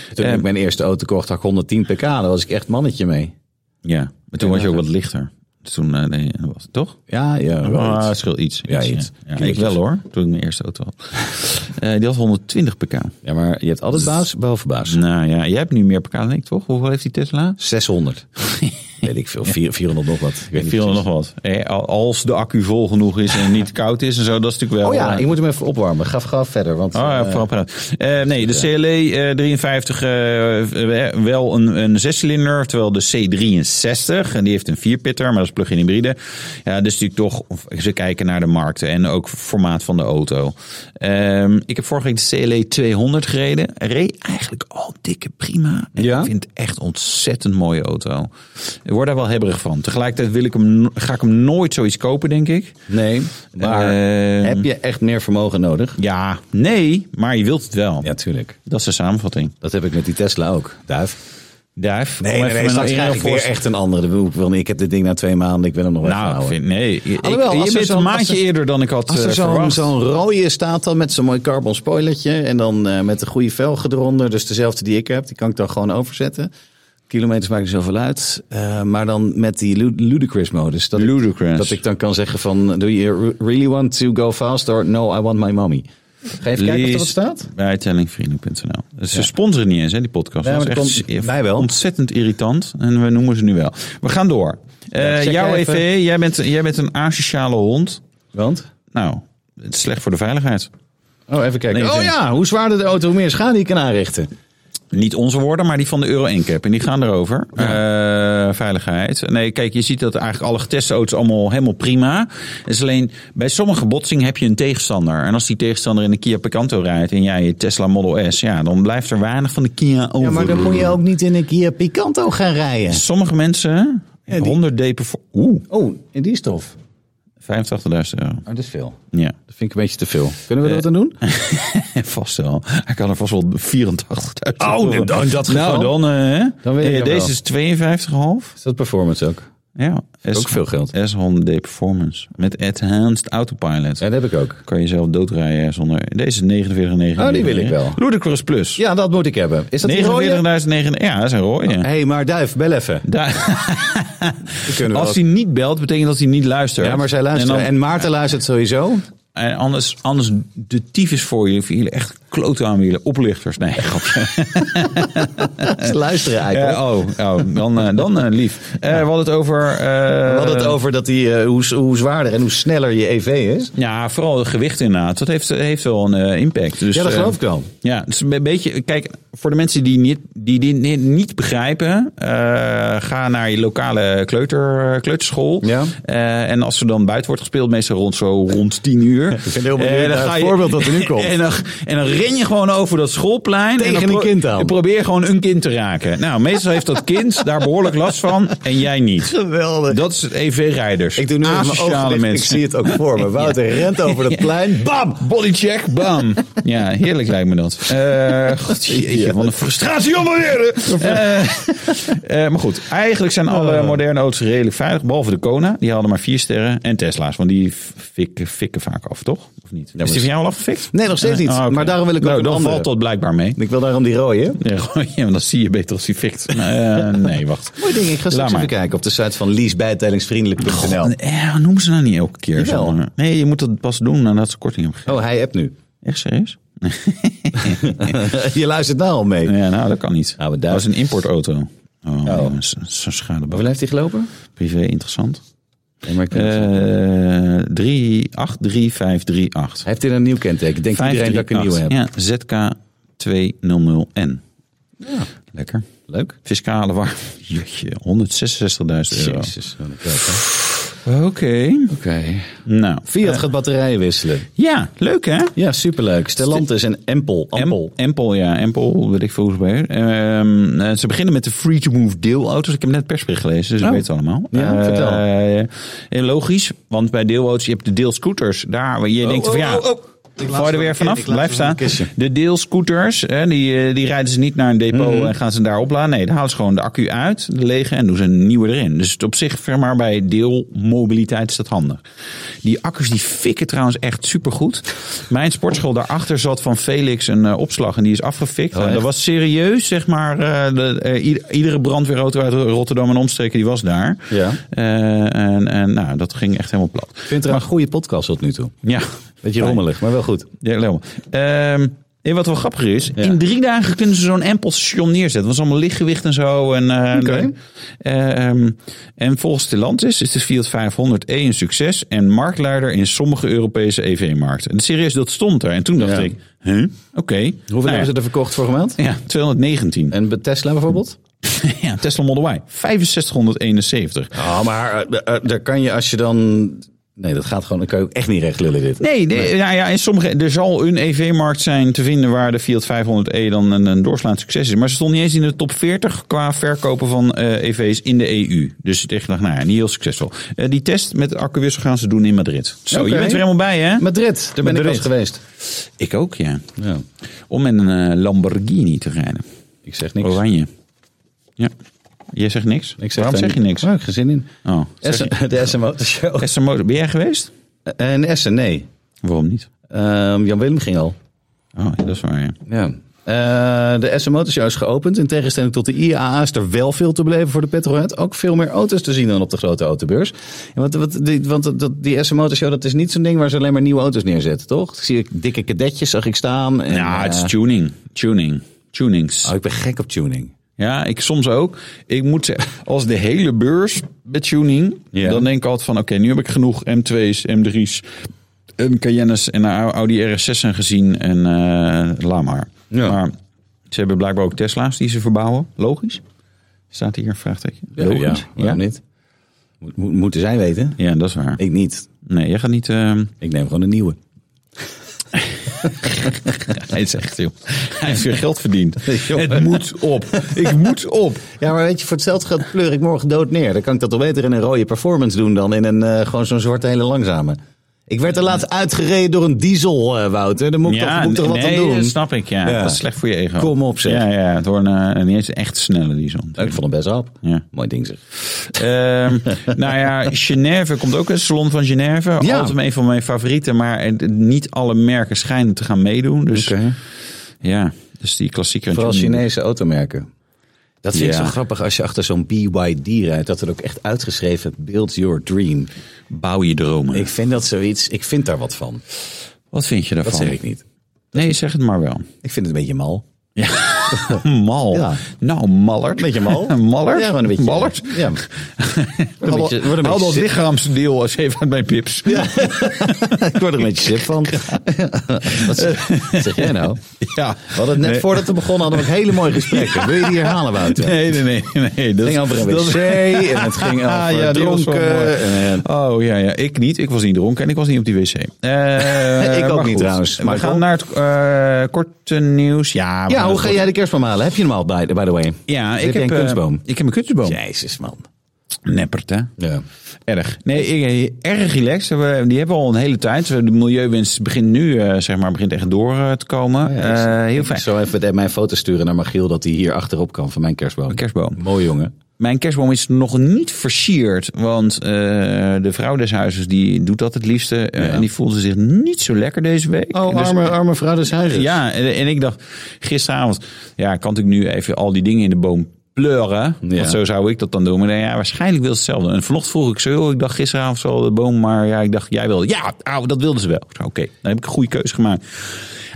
C: Eh, Toen ik mijn eerste auto kocht, had ik 110 pk. Daar was ik echt mannetje mee.
B: Ja, maar toen was je ook wat lichter. Dus toen eh, nee, dat was toch?
C: Ja, ja. wel
B: Ah,
C: iets.
B: scheelt iets.
C: Ja, iets.
B: Ja, ik wel hoor, toen ik mijn eerste auto had. Eh, die had 120 pk.
C: Ja, maar je hebt altijd baas, boven baas.
B: Nou ja, jij hebt nu meer pk dan ik toch? Hoeveel heeft die Tesla?
C: 600. Weet ik veel. vier- 400 nog wat. Ik weet niet
B: Veel
C: precies.
B: nog wat. Eh, al- als de accu vol genoeg is en niet koud is en zo, dat is natuurlijk wel...
C: Oh ja,
B: eh,
C: ik moet hem even opwarmen. Ga, ga verder. Want,
B: Oh, ja,
C: eh,
B: vooral paraat. Eh, nee, de CLE eh 53 eh, eh, wel een, een zescilinder, terwijl de C63, en die heeft een vierpitter, maar dat is plug-in hybride. Ja, dus natuurlijk toch, of ze kijken naar de markt en ook formaat van de auto. Ehm, ik heb vorige week de CLE 200 gereden. Reed eigenlijk al dikke prima. En
C: Ja?
B: Ik vind het echt een ontzettend mooie auto. Ik word daar wel hebberig van. Tegelijkertijd wil ik hem, no- ga ik hem nooit zoiets kopen, denk ik.
C: nee, maar
B: Ehm.
C: heb je echt meer vermogen nodig?
B: Ja, nee, maar je wilt het wel.
C: Ja, tuurlijk.
B: Dat is de samenvatting.
C: Dat heb ik met die Tesla ook, Duif.
B: Duif.
C: Nee, nee, nee, straks krijg ik weer echt een andere. Ik bedoel, Ik, wil niet- ik heb dit ding na twee maanden, ik wil hem nog wel even
B: Nou, ik
C: houden.
B: vind, nee. Ik,
C: Alhoewel,
B: ik-
C: als
B: je
C: er
B: bent
C: zo'n-
B: een
C: als
B: maandje
C: er-
B: eerder dan ik had
C: Als
B: eh,
C: er zo'n
B: verwacht.
C: zo'n rode staat dan met zo'n mooi carbon spoilertje en dan eh, met een goede velg eronder, dus dezelfde die ik heb, die kan ik dan gewoon overzetten. Kilometers maken niet zoveel uit, eh, maar dan met die lu- ludicrous modus. Dat Ik,
B: Ludicrous.
C: dat ik dan kan zeggen van, do you re- really want to go fast or no, I want my mommy. Ga even kijken of
B: Lees
C: dat staat.
B: Bij tellingvrienden.nl. Dus Ze sponsoren niet eens, hè, die podcast.
C: Nee, maar
B: Dat is
C: dat
B: echt
C: komt-
B: s-
C: wij wel.
B: ontzettend irritant. En we noemen ze nu wel. We gaan door. Eh,
C: check
B: jouw
C: even.
B: EV, jij bent, jij bent een asociale hond.
C: Want?
B: Nou, het is slecht voor de veiligheid.
C: Oh, even kijken.
B: Nee,
C: oh
B: nee.
C: ja, hoe zwaarder de auto, hoe meer schade je kan aanrichten.
B: Niet onze woorden, maar die van de Euro NCAP. En die gaan erover. Eh, veiligheid. Nee, kijk, je ziet dat eigenlijk alle geteste auto's allemaal helemaal prima. Het is alleen, bij sommige botsingen heb je een tegenstander. En als die tegenstander in de Kia Picanto rijdt en jij je Tesla Model S... ja, dan blijft er weinig van de Kia over.
C: Ja, maar dan moet je ook niet in een Kia Picanto gaan rijden.
B: Sommige mensen, 100 depen voor... Oeh,
C: Oh, en die stof.
B: 85.000 euro.
C: Oh, dat is veel.
B: Ja,
C: Dat vind ik een beetje te veel. Kunnen we dat dan doen?
B: vast wel. Hij kan er vast wel 84.000
D: Oh,
B: euro.
D: in dat- in dat
B: Nou,
C: geval.
B: dan... eh,
C: Dan weet ik
B: eh,
C: hem
B: deze is 52,5.
C: Is dat performance ook?
B: Ja, S
C: Ook veel geld.
B: S100D Performance. Met Enhanced Autopilot.
C: Ja, dat heb ik ook.
B: Kan je zelf doodrijden zonder... Deze is 49,99.
C: Oh, die wil ik wel.
B: Ludicrous Plus.
C: Ja, dat moet ik hebben. Is dat die rode?
B: 49.009. Ja, dat is een rode.
C: Hé, hey, maar Duif, bel even.
B: Daar-
C: Die kunnen we
B: als
C: wel-
B: hij niet belt, betekent dat hij niet luistert.
C: Ja, maar zij luisteren. En,
B: En, dan-
C: Maarten luistert sowieso.
B: en anders, anders de tyfus voor jullie. Voor jullie echt klote aan jullie oplichters. Nee, grapje.
C: Ze luisteren eigenlijk.
B: Eh, oh, oh, dan, eh, dan eh, lief. Eh, we hadden het over... eh,
C: we hadden het over dat die, eh, hoe, hoe zwaarder en hoe sneller je EV is.
B: Ja, vooral het gewicht inderdaad. Dat heeft, heeft wel een eh, impact. Dus,
C: Ja, dat
B: eh,
C: geloof ik wel.
B: Ja, het is een beetje. Kijk, voor de mensen die niet, die, die ni- niet begrijpen, eh, ga naar je lokale kleuter, kleuterschool.
C: Ja.
B: Eh, en als er dan buiten wordt gespeeld, meestal rond zo rond 10 uur. Eh, Ik
C: ben heel benieuwd naar het voorbeeld dat er nu komt.
B: En dan, en dan ren je gewoon over dat schoolplein.
C: Tegen
B: en dan
C: een kind aan.
B: En probeer gewoon een kind te raken. Nou, meestal heeft dat kind daar behoorlijk last van en jij niet.
C: Geweldig.
B: Dat is het EV-rijders.
C: Ik doe nu even mijn ogen
B: Asociale
C: dicht. Ik
B: mensen.
C: zie het ook voor me. Wouter rent over dat plein. Bam!
B: Bodycheck, bam. Ja, heerlijk lijkt me dat. Eh God, jeetje, wat een frustratie om weer. Eh, eh, maar goed, eigenlijk zijn alle
C: Oh.
B: moderne auto's redelijk veilig. Behalve de Kona, die hadden maar vier sterren. En Tesla's, want die fikken, fikken vaak af, toch? Of niet? Is die van jou al afgefikt?
C: Nee, nog steeds niet.
B: Ah, oké.
C: Maar daarom wil wil ik ook
B: Nou,
C: een
B: dan
C: andere.
B: valt dat blijkbaar mee.
C: Ik wil daarom die rode.
B: Ja, gewoon- ja, want dan zie je beter als hij fikt. Nou, eh, nee, wacht.
C: Mooi ding, ik ga
B: Laat
C: straks
B: maar.
C: even kijken op de site van leasebijtijdingsvriendelijk.nl.
B: Ja, noem ze nou niet elke keer
C: Jawel.
B: zo. Nee, je moet dat pas doen nadat ze korting hebben gegeven.
C: Oh, hij hebt nu.
B: Echt serieus?
C: Je luistert nou al mee.
B: Ja, nou, dat kan niet.
C: Nou, we
B: dat is
C: duiken.
B: een importauto. Oh, ja, zo- zo'n schadebak.
C: Hoeveel heeft hij gelopen?
B: Privé interessant.
C: Nee, maar ik-
B: Eh 3, 8, 3, 5, 3, 8.
C: Hij heeft in een nieuw kenteken. Denkt iedereen dat ik een nieuwe heb?
B: Ja, ZK200N. Lekker.
C: Leuk.
B: Fiscale waar. Jeetje, 166.000 euro.
C: Jezus. wat een kijk, hè.
B: Oké.
C: Oké.
B: Nou.
C: Fiat gaat batterijen wisselen.
B: Ja, leuk hè?
C: Ja, superleuk. Stellantis en Empel. Ampel.
B: Em- Empel, ja. Empel, weet ik veel hoe ze bij. Ehm, eh, ze beginnen met de free-to-move deelauto's. Ik heb net het persbericht gelezen, dus
C: Oh.
B: ik weet het allemaal.
C: Ja,
B: Eh,
C: vertel.
B: eh, logisch, want bij deelauto's, je hebt de deelscooters. Daar, waar je
C: Oh,
B: denkt van ja... Val je er weer vanaf? Blijf staan. De deelscooters, hè, die, eh, die rijden ze niet naar een depot en gaan ze daar opladen. Nee, daar halen ze gewoon de accu uit, de lege, en doen ze een nieuwe erin. Dus het op zich, zeg maar, bij deelmobiliteit is dat handig. Die accu's die fikken trouwens echt supergoed. Mijn sportschool daarachter zat van Felix een eh, opslag en die is afgefikt. En dat was serieus, zeg maar, eh, de, eh, ied- iedere brandweerauto uit Rotterdam en omstreken, die was daar.
C: Ja.
B: Eh, en, en nou, dat ging echt helemaal plat.
C: Ik vind het een goede podcast tot nu toe.
B: Ja,
C: Beetje rommelig, maar wel goed.
B: ja, helemaal. Ehm, en wat wel grappiger is, in drie dagen kunnen ze zo'n Empel-station neerzetten. Dat is allemaal lichtgewicht en zo. En, eh,
C: Oké.
B: ehm, en volgens Stellantis is de Fiat 500e een succes en marktleider in sommige Europese EV-markten. En serieus, dat stond er. En toen dacht
C: Ja.
B: ik, huh? oké.
C: Hoeveel
B: Nou
C: hebben
B: ja.
C: ze er verkocht vorige maand?
B: Ja, 219.
C: En bij Tesla bijvoorbeeld?
B: ja, Tesla Model Y, 6571.
C: Ah, maar eh, eh, daar kan je als je dan... Nee, dat gaat gewoon... Dan kan je ook echt niet recht lullen dit.
B: Nee, de- Nou ja, in sommige, er zal een EV-markt zijn te vinden waar de Fiat 500e dan een, een doorslaand succes is. Maar ze stond niet eens in de top 40 qua verkopen van eh, EV's in de EU. Dus ik dacht, nou ja, niet heel succesvol. Eh, die test met de accuwissel gaan ze doen in Madrid. Zo,
C: Oké.
B: je bent er helemaal bij, hè?
C: Madrid, daar ben ik
B: Madrid.
C: wel eens geweest.
B: Ik ook, ja.
C: Ja,
B: Om in een eh, Lamborghini te rijden.
C: ik zeg niks.
B: Oranje. Ja. Jij zegt niks?
C: Ik zeg
B: Waarom
C: daar
B: zeg je niks?
C: Waar heb ik geen zin in.
B: Oh, zeg
C: Essen, de Essen Motor Show.
B: Esther Motor, ben jij geweest?
C: Eh, En Essen, nee.
B: Waarom niet?
C: Ehm, Jan Willem ging al.
B: Oh, ja, dat is waar, ja.
C: Ja. Eh, de Essen Motor Show is geopend. In tegenstelling tot de IAA is er wel veel te beleven voor de petrolhead. Ook veel meer auto's te zien dan op de grote autobeurs. En wat, wat, die, want dat- dat, die Essen Motor Show dat is niet zo'n ding waar ze alleen maar nieuwe auto's neerzetten, toch? Zie ik dikke kadetjes, zag ik staan. En,
B: Ja, het is
C: eh,
B: tuning. Tuning. Tunings.
C: oh, ik ben gek op tuning.
B: Ja, ik soms ook. Ik moet zeggen, als de hele beurs met tuning,
C: Ja.
B: dan denk ik altijd van oké, nu heb ik genoeg M2's, M3's, en Cayennes en Audi RS6'en gezien en eh laat maar.
C: Ja.
B: Maar ze hebben blijkbaar ook Tesla's die ze verbouwen. Logisch. Staat hier een vraagteken? Logisch.
C: ja. waarom
B: ja.
C: niet? Moet- moet- moeten zij weten?
B: Ja, dat is waar.
C: Ik niet.
B: Nee, jij gaat niet... ehm,
C: Ik neem gewoon een nieuwe.
B: hij is echt, joh. Hij heeft weer geld verdiend. Het moet op. Ik moet op.
C: Ja, maar weet je, voor hetzelfde geld pleur ik morgen dood neer. Dan kan ik dat toch beter in een rode performance doen dan in een eh, gewoon zo'n zwarte hele langzame. Ik werd er laatst uitgereden door een diesel, eh, Wouter. Daar moet ik toch, moet ik toch wat
B: nee,
C: aan doen?
B: dat snap ik. Ja.
C: Ja.
B: Dat is slecht voor je ego.
C: Kom op, zeg.
B: Ja, ja het wordt een, een niet eens echt snelle die zon.
C: Ik vond hem best rap.
B: Ja.
C: Mooi ding zeg.
B: Ehm, nou ja, Genève komt ook een salon van Genève.
C: Ja.
B: Altijd een van mijn favorieten, maar eh, niet alle merken schijnen te gaan meedoen. Dus ja, dus die klassieke.
C: Vooral Chinese automerken. Dat vind ik
B: Ja.
C: zo grappig als je achter zo'n BYD rijdt. Dat er ook echt uitgeschreven, build your dream.
B: Bouw je dromen.
C: Ik vind dat zoiets, ik vind daar wat van.
B: Wat vind je daarvan?
C: Dat zeg ik niet.
B: Nee, zeg het maar wel.
C: Ik vind het een beetje mal.
B: Mal.
C: Ja.
B: Nou, mallert.
C: Een beetje mal.
B: mallert.
C: Ja, gewoon een beetje.
B: Mallert.
C: Ja. Word een
B: Haal
C: beetje- word een
B: haal
C: beetje
B: dat
C: zip-
B: lichaamsdeel als even uit mijn pips.
C: Ik word er een beetje sip van. Wat zeg, wat zeg jij nou?
B: Ja.
C: We hadden het net
B: Nee.
C: voordat we begonnen hadden we ook hele mooie gesprekken. Wil je die herhalen, Wouter?
B: Nee, nee, nee. nee. Dat
C: Het ging over een wc en het ging over
B: Ah, ja, die was wel mooi.
C: dronken. En, eh,
B: Oh ja, ja, ik niet. Ik was niet dronken en ik was niet op die wc. Eh,
C: Ik ook
B: maar
C: niet trouwens,
B: We
C: Michael.
B: gaan naar het eh, korte nieuws. Ja, we
C: ja,
B: gaan
C: hoe ga
B: het korte-
C: jij de kerstboom halen? Heb je hem al, by, by the way?
B: Ja,
C: heb
B: ik
C: jij
B: heb
C: een
B: eh,
C: kunstboom?
B: ik heb een kunstboom.
C: Jezus, man.
B: Neppert, hè?
C: Ja.
B: Erg. Nee, ik- erg relaxed. We- Die hebben we al een hele tijd. De milieuwinst begint nu, eh, zeg maar, begint echt door eh, te komen. Eh, heel
C: Ik
B: fijn.
C: zal even de- mijn foto sturen naar Magiel dat hij hier achterop kan van mijn kerstboom.
B: Een kerstboom.
C: Mooi, jongen.
B: Mijn kerstboom is nog niet versierd, want eh, de vrouw des huizes die doet dat het liefste. eh, En die voelde zich niet zo lekker deze week.
C: Oh,
B: En dus-
C: arme, arme vrouw des huizes.
B: Ja, en, en ik dacht gisteravond, ja, ik kan natuurlijk nu even al die dingen in de boom pleuren.
C: Ja.
B: Want zo zou ik dat dan doen. Maar dan, ja, waarschijnlijk wil ze hetzelfde. En vanochtend vroeg ik zo, joh, ik dacht gisteravond zal de boom, maar ja, ik dacht, jij wilde. Ja, au, dat wilde ze wel. Ik zei, Oké, dan heb ik een goede keuze gemaakt.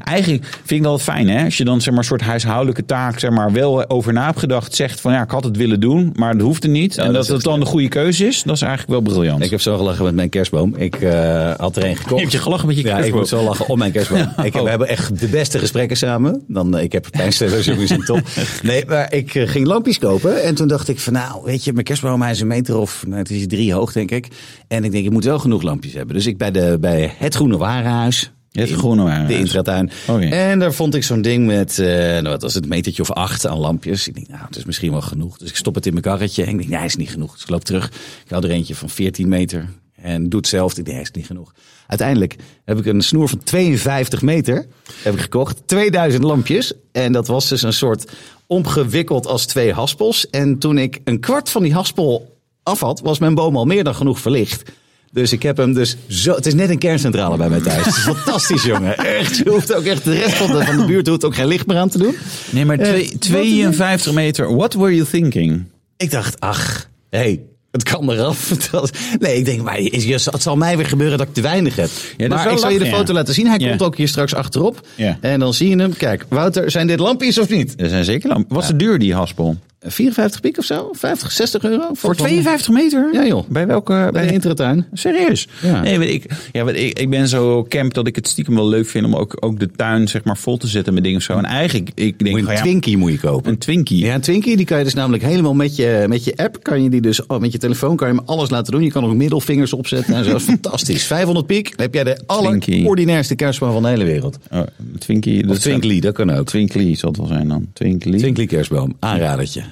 B: Eigenlijk vind ik dat fijn, hè? Als je dan zeg maar een soort huishoudelijke taak, zeg maar, wel over na hebt gedacht, zegt van ja, ik had het willen doen, maar dat hoeft er niet. en
C: dat
B: dat,
C: is
B: het
C: echt
B: dan de goede keuze is, dat is eigenlijk wel briljant.
C: Ik heb zo gelachen met mijn kerstboom. Ik eh, had er een gekocht.
B: Je hebt je gelachen met je
C: Ja, ik
B: kerstboom. Oh.
C: moet zo lachen om mijn kerstboom. ik heb, we hebben echt de beste gesprekken samen. Dan, eh, ik heb pijnstellers jongens in top. Nee, maar ik eh, ging lampjes kopen. En toen dacht ik van nou, weet je, mijn kerstboom hij is een meter of nou, het is drie hoog denk ik. En ik denk, ik moet wel genoeg lampjes hebben. Dus ik bij, de, bij het Groene Warenhuis.
B: Het Groene Warenhuis.
C: De intratuin.
B: Oh, ja.
C: En daar vond ik zo'n ding met, eh, nou, wat was het, een metertje of acht aan lampjes. Ik denk, nou, het is misschien wel genoeg. Dus ik stop het in mijn karretje en ik denk, nee, is niet genoeg. Dus ik loop terug. Ik haal er eentje van 14 meter en doe hetzelfde. Ik denk, nee, is niet genoeg. Uiteindelijk heb ik een snoer van 52 meter heb ik gekocht. 2000 lampjes. En dat was dus een soort omgewikkeld als twee haspels. En toen ik een kwart van die haspel af had, was mijn boom al meer dan genoeg verlicht. Dus ik heb hem dus zo. Het is net een kerncentrale bij mij thuis. Het is fantastisch, jongen. Echt. Je hoeft ook echt. De rest van de, van de buurt hoeft ook geen licht meer aan te doen.
B: Nee, maar twee-
C: Eh, wat-
B: 52 meter. What were you thinking?
C: Ik dacht, ach, hé, hey, het kan eraf. Dat- nee, ik denk, maar is- is- het zal mij weer gebeuren dat ik te weinig heb.
B: is
C: maar
B: wel
C: ik zal je de
B: lachen,
C: foto
B: ja.
C: laten zien. Hij
B: Ja.
C: komt ook hier straks achterop.
B: Ja.
C: En dan zie je hem. Kijk, Wouter, zijn dit lampjes of niet? Eh,
B: Er zijn zeker lampen. Wat is de duur die haspel?
C: 54 piek of zo? 50, 60 euro?
B: Voor 52 meter?
C: Ja, joh.
B: Bij welke?
C: Bij de
B: Bij
C: intratuin.
B: Serieus?
C: Ja.
B: Nee, weet ik, ja, weet ik, ik ben zo camp dat ik het stiekem wel leuk vind om ook, ook de tuin zeg maar vol te zetten met dingen of zo. En eigenlijk, ik denk
C: Moet je
B: van,
C: een
B: ja,
C: Twinkie moet je kopen.
B: een Twinkie.
C: Ja, een Twinkie, die kan je dus namelijk helemaal met je, met je app, kan je die dus, oh, met je telefoon kan je hem alles laten doen. Je kan ook middelvingers opzetten en zo. Dat is fantastisch. 500 piek, dan heb jij de allerordinairste kerstboom van de hele wereld.
B: Oh, Twinkie.
C: Of
B: dat-
C: Twinkly, dat kan ook.
B: Twinkly zal het wel zijn dan. Twinkly.
C: Twinkly kerstboom, aanradertje.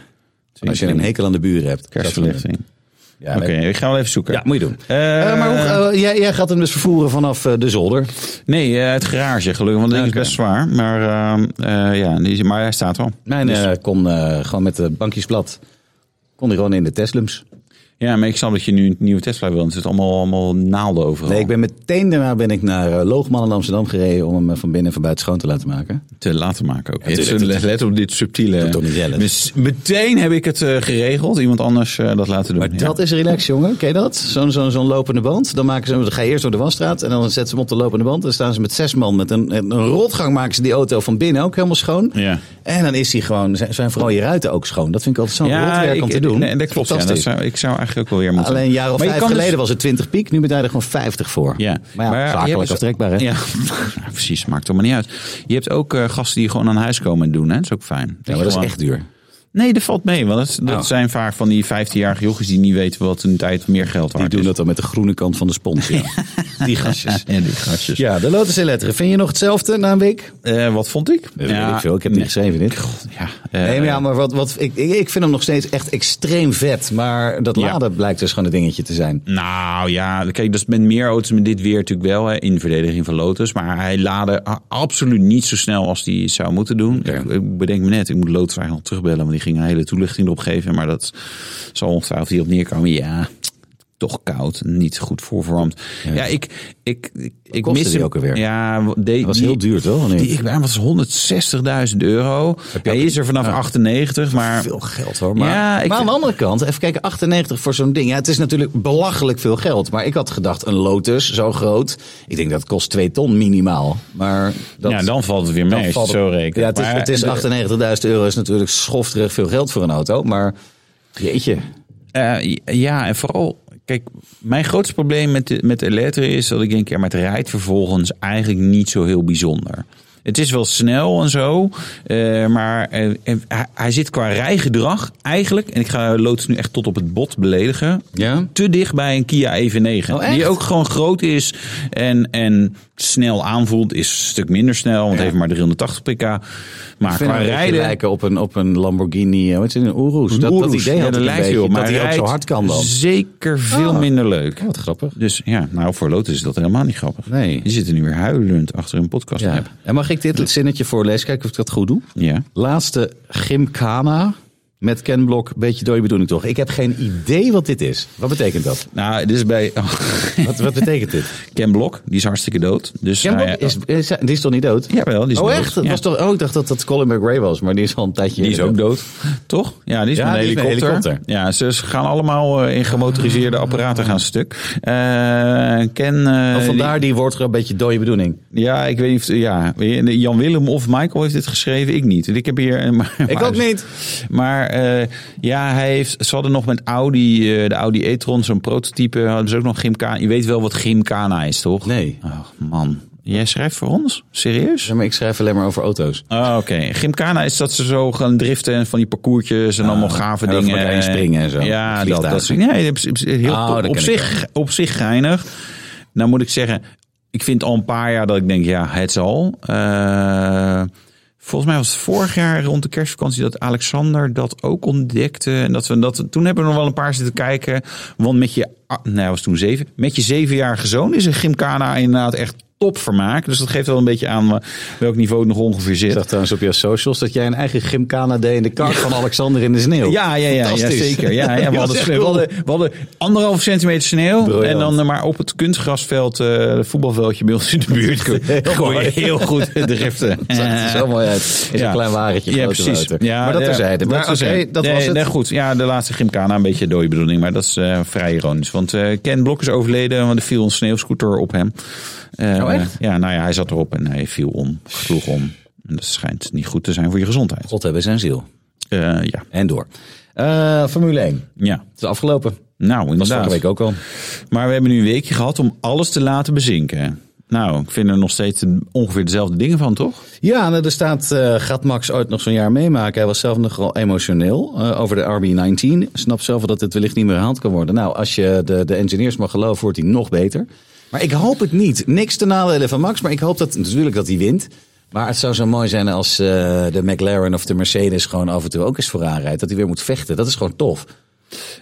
C: Als je een hekel aan de buren hebt.
B: Kerstverlichting.
C: Ja,
B: Oké, ik ga wel even zoeken.
C: ja, moet je doen.
B: Eh,
C: Eh, maar hoe, eh, jij, jij gaat hem dus vervoeren vanaf eh, de zolder.
B: Nee, eh, het garage gelukkig, want dat ding is
C: Oké.
B: best zwaar. Maar, ehm, eh, ja, die is- maar hij staat wel.
C: Mijn eh, kon eh, gewoon met de bankjes plat. Kon hij gewoon in de Teslums.
B: Ja, maar ik snap dat je nu een nieuwe Tesla wil. want Er zitten allemaal, allemaal naalden overal.
C: Nee, ik ben meteen daarna ben ik naar eh, Loogman in Amsterdam gereden om hem eh, van binnen en van buiten schoon te laten maken.
B: te laten maken ook. Het is
C: tuurlijk,
B: een- let op dit subtiele.
C: Doe toch niet zelf.
B: Mes- Meteen heb ik het eh, geregeld. Iemand anders eh, dat laten doen.
C: Maar
B: ja.
C: dat is relax, jongen. Ken je dat? Zo'n zo'n zo'n lopende band. Dan, maken ze, hem- dan ga je eerst door de wasstraat en dan zetten ze hem op de lopende band. Dan staan ze met zes man met een, een een rotgang maken ze die auto van binnen ook helemaal schoon.
B: Ja.
C: En dan is die gewoon, zijn zijn vooral je ruiten ook schoon. Dat vind ik altijd zo'n rotwerk
B: ik-
C: om te doen.
B: nee, dat klopt. Ja, dat
C: Fantastisch.
B: zou, ik zou eigenlijk ook wel weer moeten.
C: Alleen een jaar of
B: Maar je
C: vijf
B: kan dus-
C: geleden was het 20 piek. Nu betaal je er gewoon 50 voor.
B: Ja,
C: Maar ja, zakelijk
B: je hebt-
C: aftrekbaar, hè?
B: Ja, Nou, precies. Maakt allemaal niet uit. Je hebt ook eh, gasten die gewoon aan huis komen en doen. Hè? Dat is ook fijn.
C: Ja, maar
B: je
C: dat is
B: gewoon-
C: echt duur.
B: Nee, dat valt mee. Want dat, is- dat
C: Oh.
B: zijn vaak van die 15-jarige jochies die niet weten wat hun tijd meer geld
C: Die
B: waard
C: doen
B: is.
C: dat dan met de groene kant van de spons. ja. Die gastjes.
B: Ja, die gastjes.
C: Ja, de Lotus in letteren. Vind je nog hetzelfde na een week?
B: Eh, wat vond ik?
C: Dat weet ik veel. Ik heb niet geschreven dit.
B: Ja,
C: Nee,
B: eh,
C: maar, ja, maar wat, wat, ik, ik ik vind hem nog steeds echt extreem vet. Maar dat
B: Ja.
C: laden blijkt dus gewoon een dingetje te zijn.
B: Nou ja, kijk, dat is met meer auto's met dit weer natuurlijk wel hè, in verdediging van Lotus. Maar hij laadde a- absoluut niet zo snel als hij zou moeten doen. Ik, ik bedenk me net, ik moet Lotus eigenlijk nog terugbellen, want die ging een hele toelichting erop geven. Maar dat zal ongetwijfeld hierop neerkomen. Ja, toch koud, niet goed voorverwarmd. Ja, ik, ik, ik, ik
C: kostte
B: mis
C: die
B: hem.
C: ook alweer?
B: Ja, wa- de-
C: Dat was
B: die-
C: heel duur, toch?
B: Die ik bij was 160.000 euro. Hij is er vanaf 98, maar
C: Ah. Veel geld hoor. Maar,
B: Ja, ik-
C: maar aan de andere kant, even kijken, 98 voor zo'n ding. Ja, het is natuurlijk belachelijk veel geld. Maar ik had gedacht, een Lotus, zo groot. Ik denk dat kost 2 ton minimaal. Maar dat,
B: ja, dan valt het weer mee.
C: dan
B: als je
C: valt
B: het zo rekent.
C: Ja, het is,
B: Maar-
C: het is 98.000 euro. is natuurlijk schofterig veel geld voor een auto. Maar jeetje.
B: Eh, ja, en vooral, kijk, mijn grootste probleem met de, met de Eletre is dat ik denk, ja, maar het rijdt vervolgens eigenlijk niet zo heel bijzonder. Het is wel snel en zo, eh, maar eh, en hij, hij zit qua rijgedrag eigenlijk, en ik ga Lotus nu echt tot op het bot beledigen,
C: Ja?
B: te dicht bij een Kia EV9.
C: Oh, echt?
B: die ook gewoon groot is en, en snel aanvoelt, is een stuk minder snel, want heeft maar 380 pk.
C: vind
B: Maar qua
C: hem een beetje
B: rijden,
C: lijken op een, op een Lamborghini, eh, wat is het, een Urus. Dat, dat
B: Oeroes.
C: idee
B: Ja,
C: had
B: dat
C: ik een
B: lijkt
C: beetje,
B: veel, maar
C: dat hij ook
B: rijdt
C: zo hard kan dan.
B: Zeker veel
C: Ah.
B: minder leuk.
C: wat grappig.
B: Dus ja, nou voor Lotus is dat helemaal niet grappig.
C: Nee.
B: Die zitten nu weer huilend achter hun podcast
C: Ja.
B: app.
C: En mag ik dit zinnetje voorlezen? Kijken of ik dat goed doe.
B: Ja.
C: Laatste Gymkhana met Ken Blok. Beetje door je bedoeling toch? Ik heb geen idee wat dit is. Wat betekent dat?
B: Nou, dit is bij
C: Wat, wat betekent dit?
B: Ken Blok. Die is hartstikke dood. Dus
C: Ken Blok
B: hij-
C: is, is- die is toch niet dood?
B: Jawel, die is
C: oh
B: dood.
C: echt? Dat
B: Ja.
C: was toch, oh, ik dacht dat dat Colin McRae was, maar die is al een tijdje...
B: Die is ook dood, toch? Ja, die is
C: Ja,
B: met een
C: die is met
B: helikopter.
C: een helikopter. Ah.
B: Ja, ze ze gaan allemaal eh, in gemotoriseerde apparaten gaan stuk. Eh, Ken... eh,
C: Oh, vandaar die wordt er een beetje dode bedoeling.
B: die- ja, ik weet niet of... Ja, Jan Willem of Michael heeft dit geschreven. Ik niet. Ik heb hier... eh, Maar,
C: Ik ook niet.
B: Maar eh, ja, hij heeft, ze hadden nog met Audi, eh, de Audi e-tron, zo'n prototype. Hadden ze ook nog Gymkhana. Je weet wel wat Gymkhana is, toch?
C: Nee.
B: Ach, man. Jij schrijft voor ons? Serieus?
C: Zeg maar, ik schrijf alleen maar over auto's.
B: Ah, Oké, Gymkhana is dat ze zo gaan driften en van die parcoursjes en allemaal gave
C: Ah, en over
B: dingen.
C: elkaar heen springen en zo.
B: Ja, dat,
C: Vliegtuigen.
B: dat soort- nee, dat is- is- is heel
C: Oh,
B: tof.
C: dat ken
B: op,
C: ik
B: zich, op zich geinig. Nou moet ik zeggen, ik vind al een paar jaar dat ik denk, ja, het zal. Eh, volgens mij was het vorig jaar rond de kerstvakantie dat Alexander dat ook ontdekte. En dat we dat, toen hebben we nog wel een paar zitten kijken. Want met je, ah, nee, hij was toen zeven. Met je zevenjarige zoon is een gymkana inderdaad echt topvermaak. Dus dat geeft wel een beetje aan welk niveau het nog ongeveer
C: Ik
B: zit.
C: zag trouwens op jouw socials dat jij een eigen gymkana deed in de kar van Alexander in de sneeuw.
B: Ja, ja, ja, ja
C: Fantastisch.
B: zeker. Ja, ja, we,
C: Dat
B: hadden
C: is echt
B: sneeuw, we,
C: cool.
B: hadden, we hadden anderhalf centimeter sneeuw.
C: Briljant.
B: En dan eh, maar op het kunstgrasveld, eh voetbalveldje bij ons in de buurt. Gooi je heel goed de driften.
C: Het zag er zo mooi uit. Is
B: Eh, Ja.
C: een klein wagentje.
B: Ja,
C: grote
B: precies.
C: motor.
B: Ja,
C: maar dat
B: ja,
C: terzijde. Maar oké,
B: terzijde.
C: dat
B: Nee,
C: was het.
B: nee, goed. Ja, de laatste Gymkhana, een beetje dode bedoeling. Maar dat is eh, vrij ironisch. Want eh, Ken Blok is overleden, want er viel een sneeuwscooter op hem. Eh,
C: Oh, echt?
B: Ja, nou ja, hij zat erop en hij viel om. Sloeg om. En dat schijnt niet goed te zijn voor je gezondheid.
C: God hebben zijn ziel.
B: Eh, ja.
C: En door. Eh, Formule 1. Het
B: ja.
C: is afgelopen. Dat
B: Nou,
C: was
B: inderdaad.
C: vorige week ook al.
B: Maar we hebben nu een weekje gehad om alles te laten bezinken. Nou, ik vind er nog steeds ongeveer dezelfde dingen van, toch?
C: Ja, nou, er staat, eh, gaat Max ooit nog zo'n jaar meemaken? Hij was zelf nogal emotioneel eh, over de RB19. Snapt zelf wel dat het wellicht niet meer herhaald kan worden. Nou, als je de, de engineers mag geloven, wordt hij nog beter. Maar ik hoop het niet. Niks ten nadele van Max, maar ik hoop dat, natuurlijk dat hij wint. Maar het zou zo mooi zijn als eh, de McLaren of de Mercedes gewoon af en toe ook eens vooraan rijdt. Dat hij weer moet vechten. Dat is gewoon tof.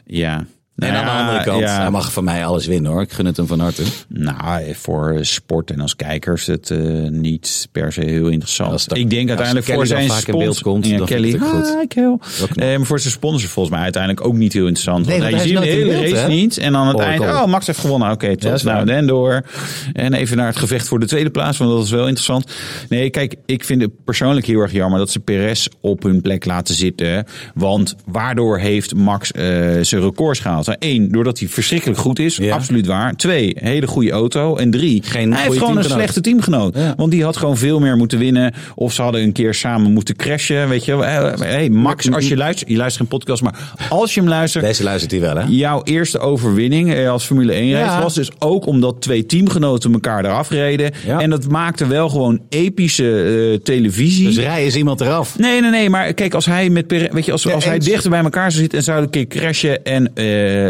B: Ja. Nou
C: en aan de
B: ja,
C: andere kant,
B: ja.
C: hij mag van mij alles winnen hoor. Ik gun het hem van harte.
B: Nou, voor sport en als kijkers het eh, niet per se heel interessant.
C: Als dat-
B: ik denk
C: als
B: uiteindelijk
C: Kelly
B: voor
C: dan
B: zijn
C: vaak in beeld
B: sponsor...
C: komt,
B: ja,
C: dan vind
B: Kelly,
C: ik het goed.
B: hi, Kel.
C: knap.
B: Eh, maar voor zijn sponsors volgens mij uiteindelijk ook niet heel interessant.
C: Nee,
B: want
C: want
B: hij ziet
C: hij
B: de
C: is nooit
B: hele
C: in
B: race
C: beeld, hè?
B: niet. En aan het
C: Oh,
B: eind,
C: cool.
B: oh, Max heeft gewonnen. Oké,
C: dat
B: tot
C: is
B: nou,
C: waar.
B: dan door. En even naar het gevecht voor de tweede plaats, want dat is wel interessant. Nee, kijk, ik vind het persoonlijk heel erg jammer dat ze Perez op hun plek laten zitten. Want waardoor heeft Max eh, zijn records gehaald? Nou, Eén, doordat hij verschrikkelijk goed is.
C: Ja.
B: Absoluut waar. Twee, hele goede auto. En drie,
C: Geen
B: hij
C: goede
B: heeft gewoon een
C: teamgenoot.
B: slechte teamgenoot.
C: Ja.
B: Want die had gewoon veel meer moeten winnen. Of ze hadden een keer samen moeten crashen. Weet je, wel. Eh, hey, Max, als je luistert, je luistert geen podcast, maar als je hem luistert.
C: Deze luistert hij wel hè?
B: Jouw eerste overwinning eh, als Formule 1 race
C: Ja.
B: was dus ook omdat twee teamgenoten elkaar eraf reden.
C: Ja.
B: En dat maakte wel gewoon epische eh, televisie.
C: Dus rij is iemand eraf.
B: Nee, nee, nee. Maar kijk, als hij met Pere- weet je, als, als hij
C: eens.
B: dichter bij elkaar zou zitten en zou een keer crashen en eh, eh,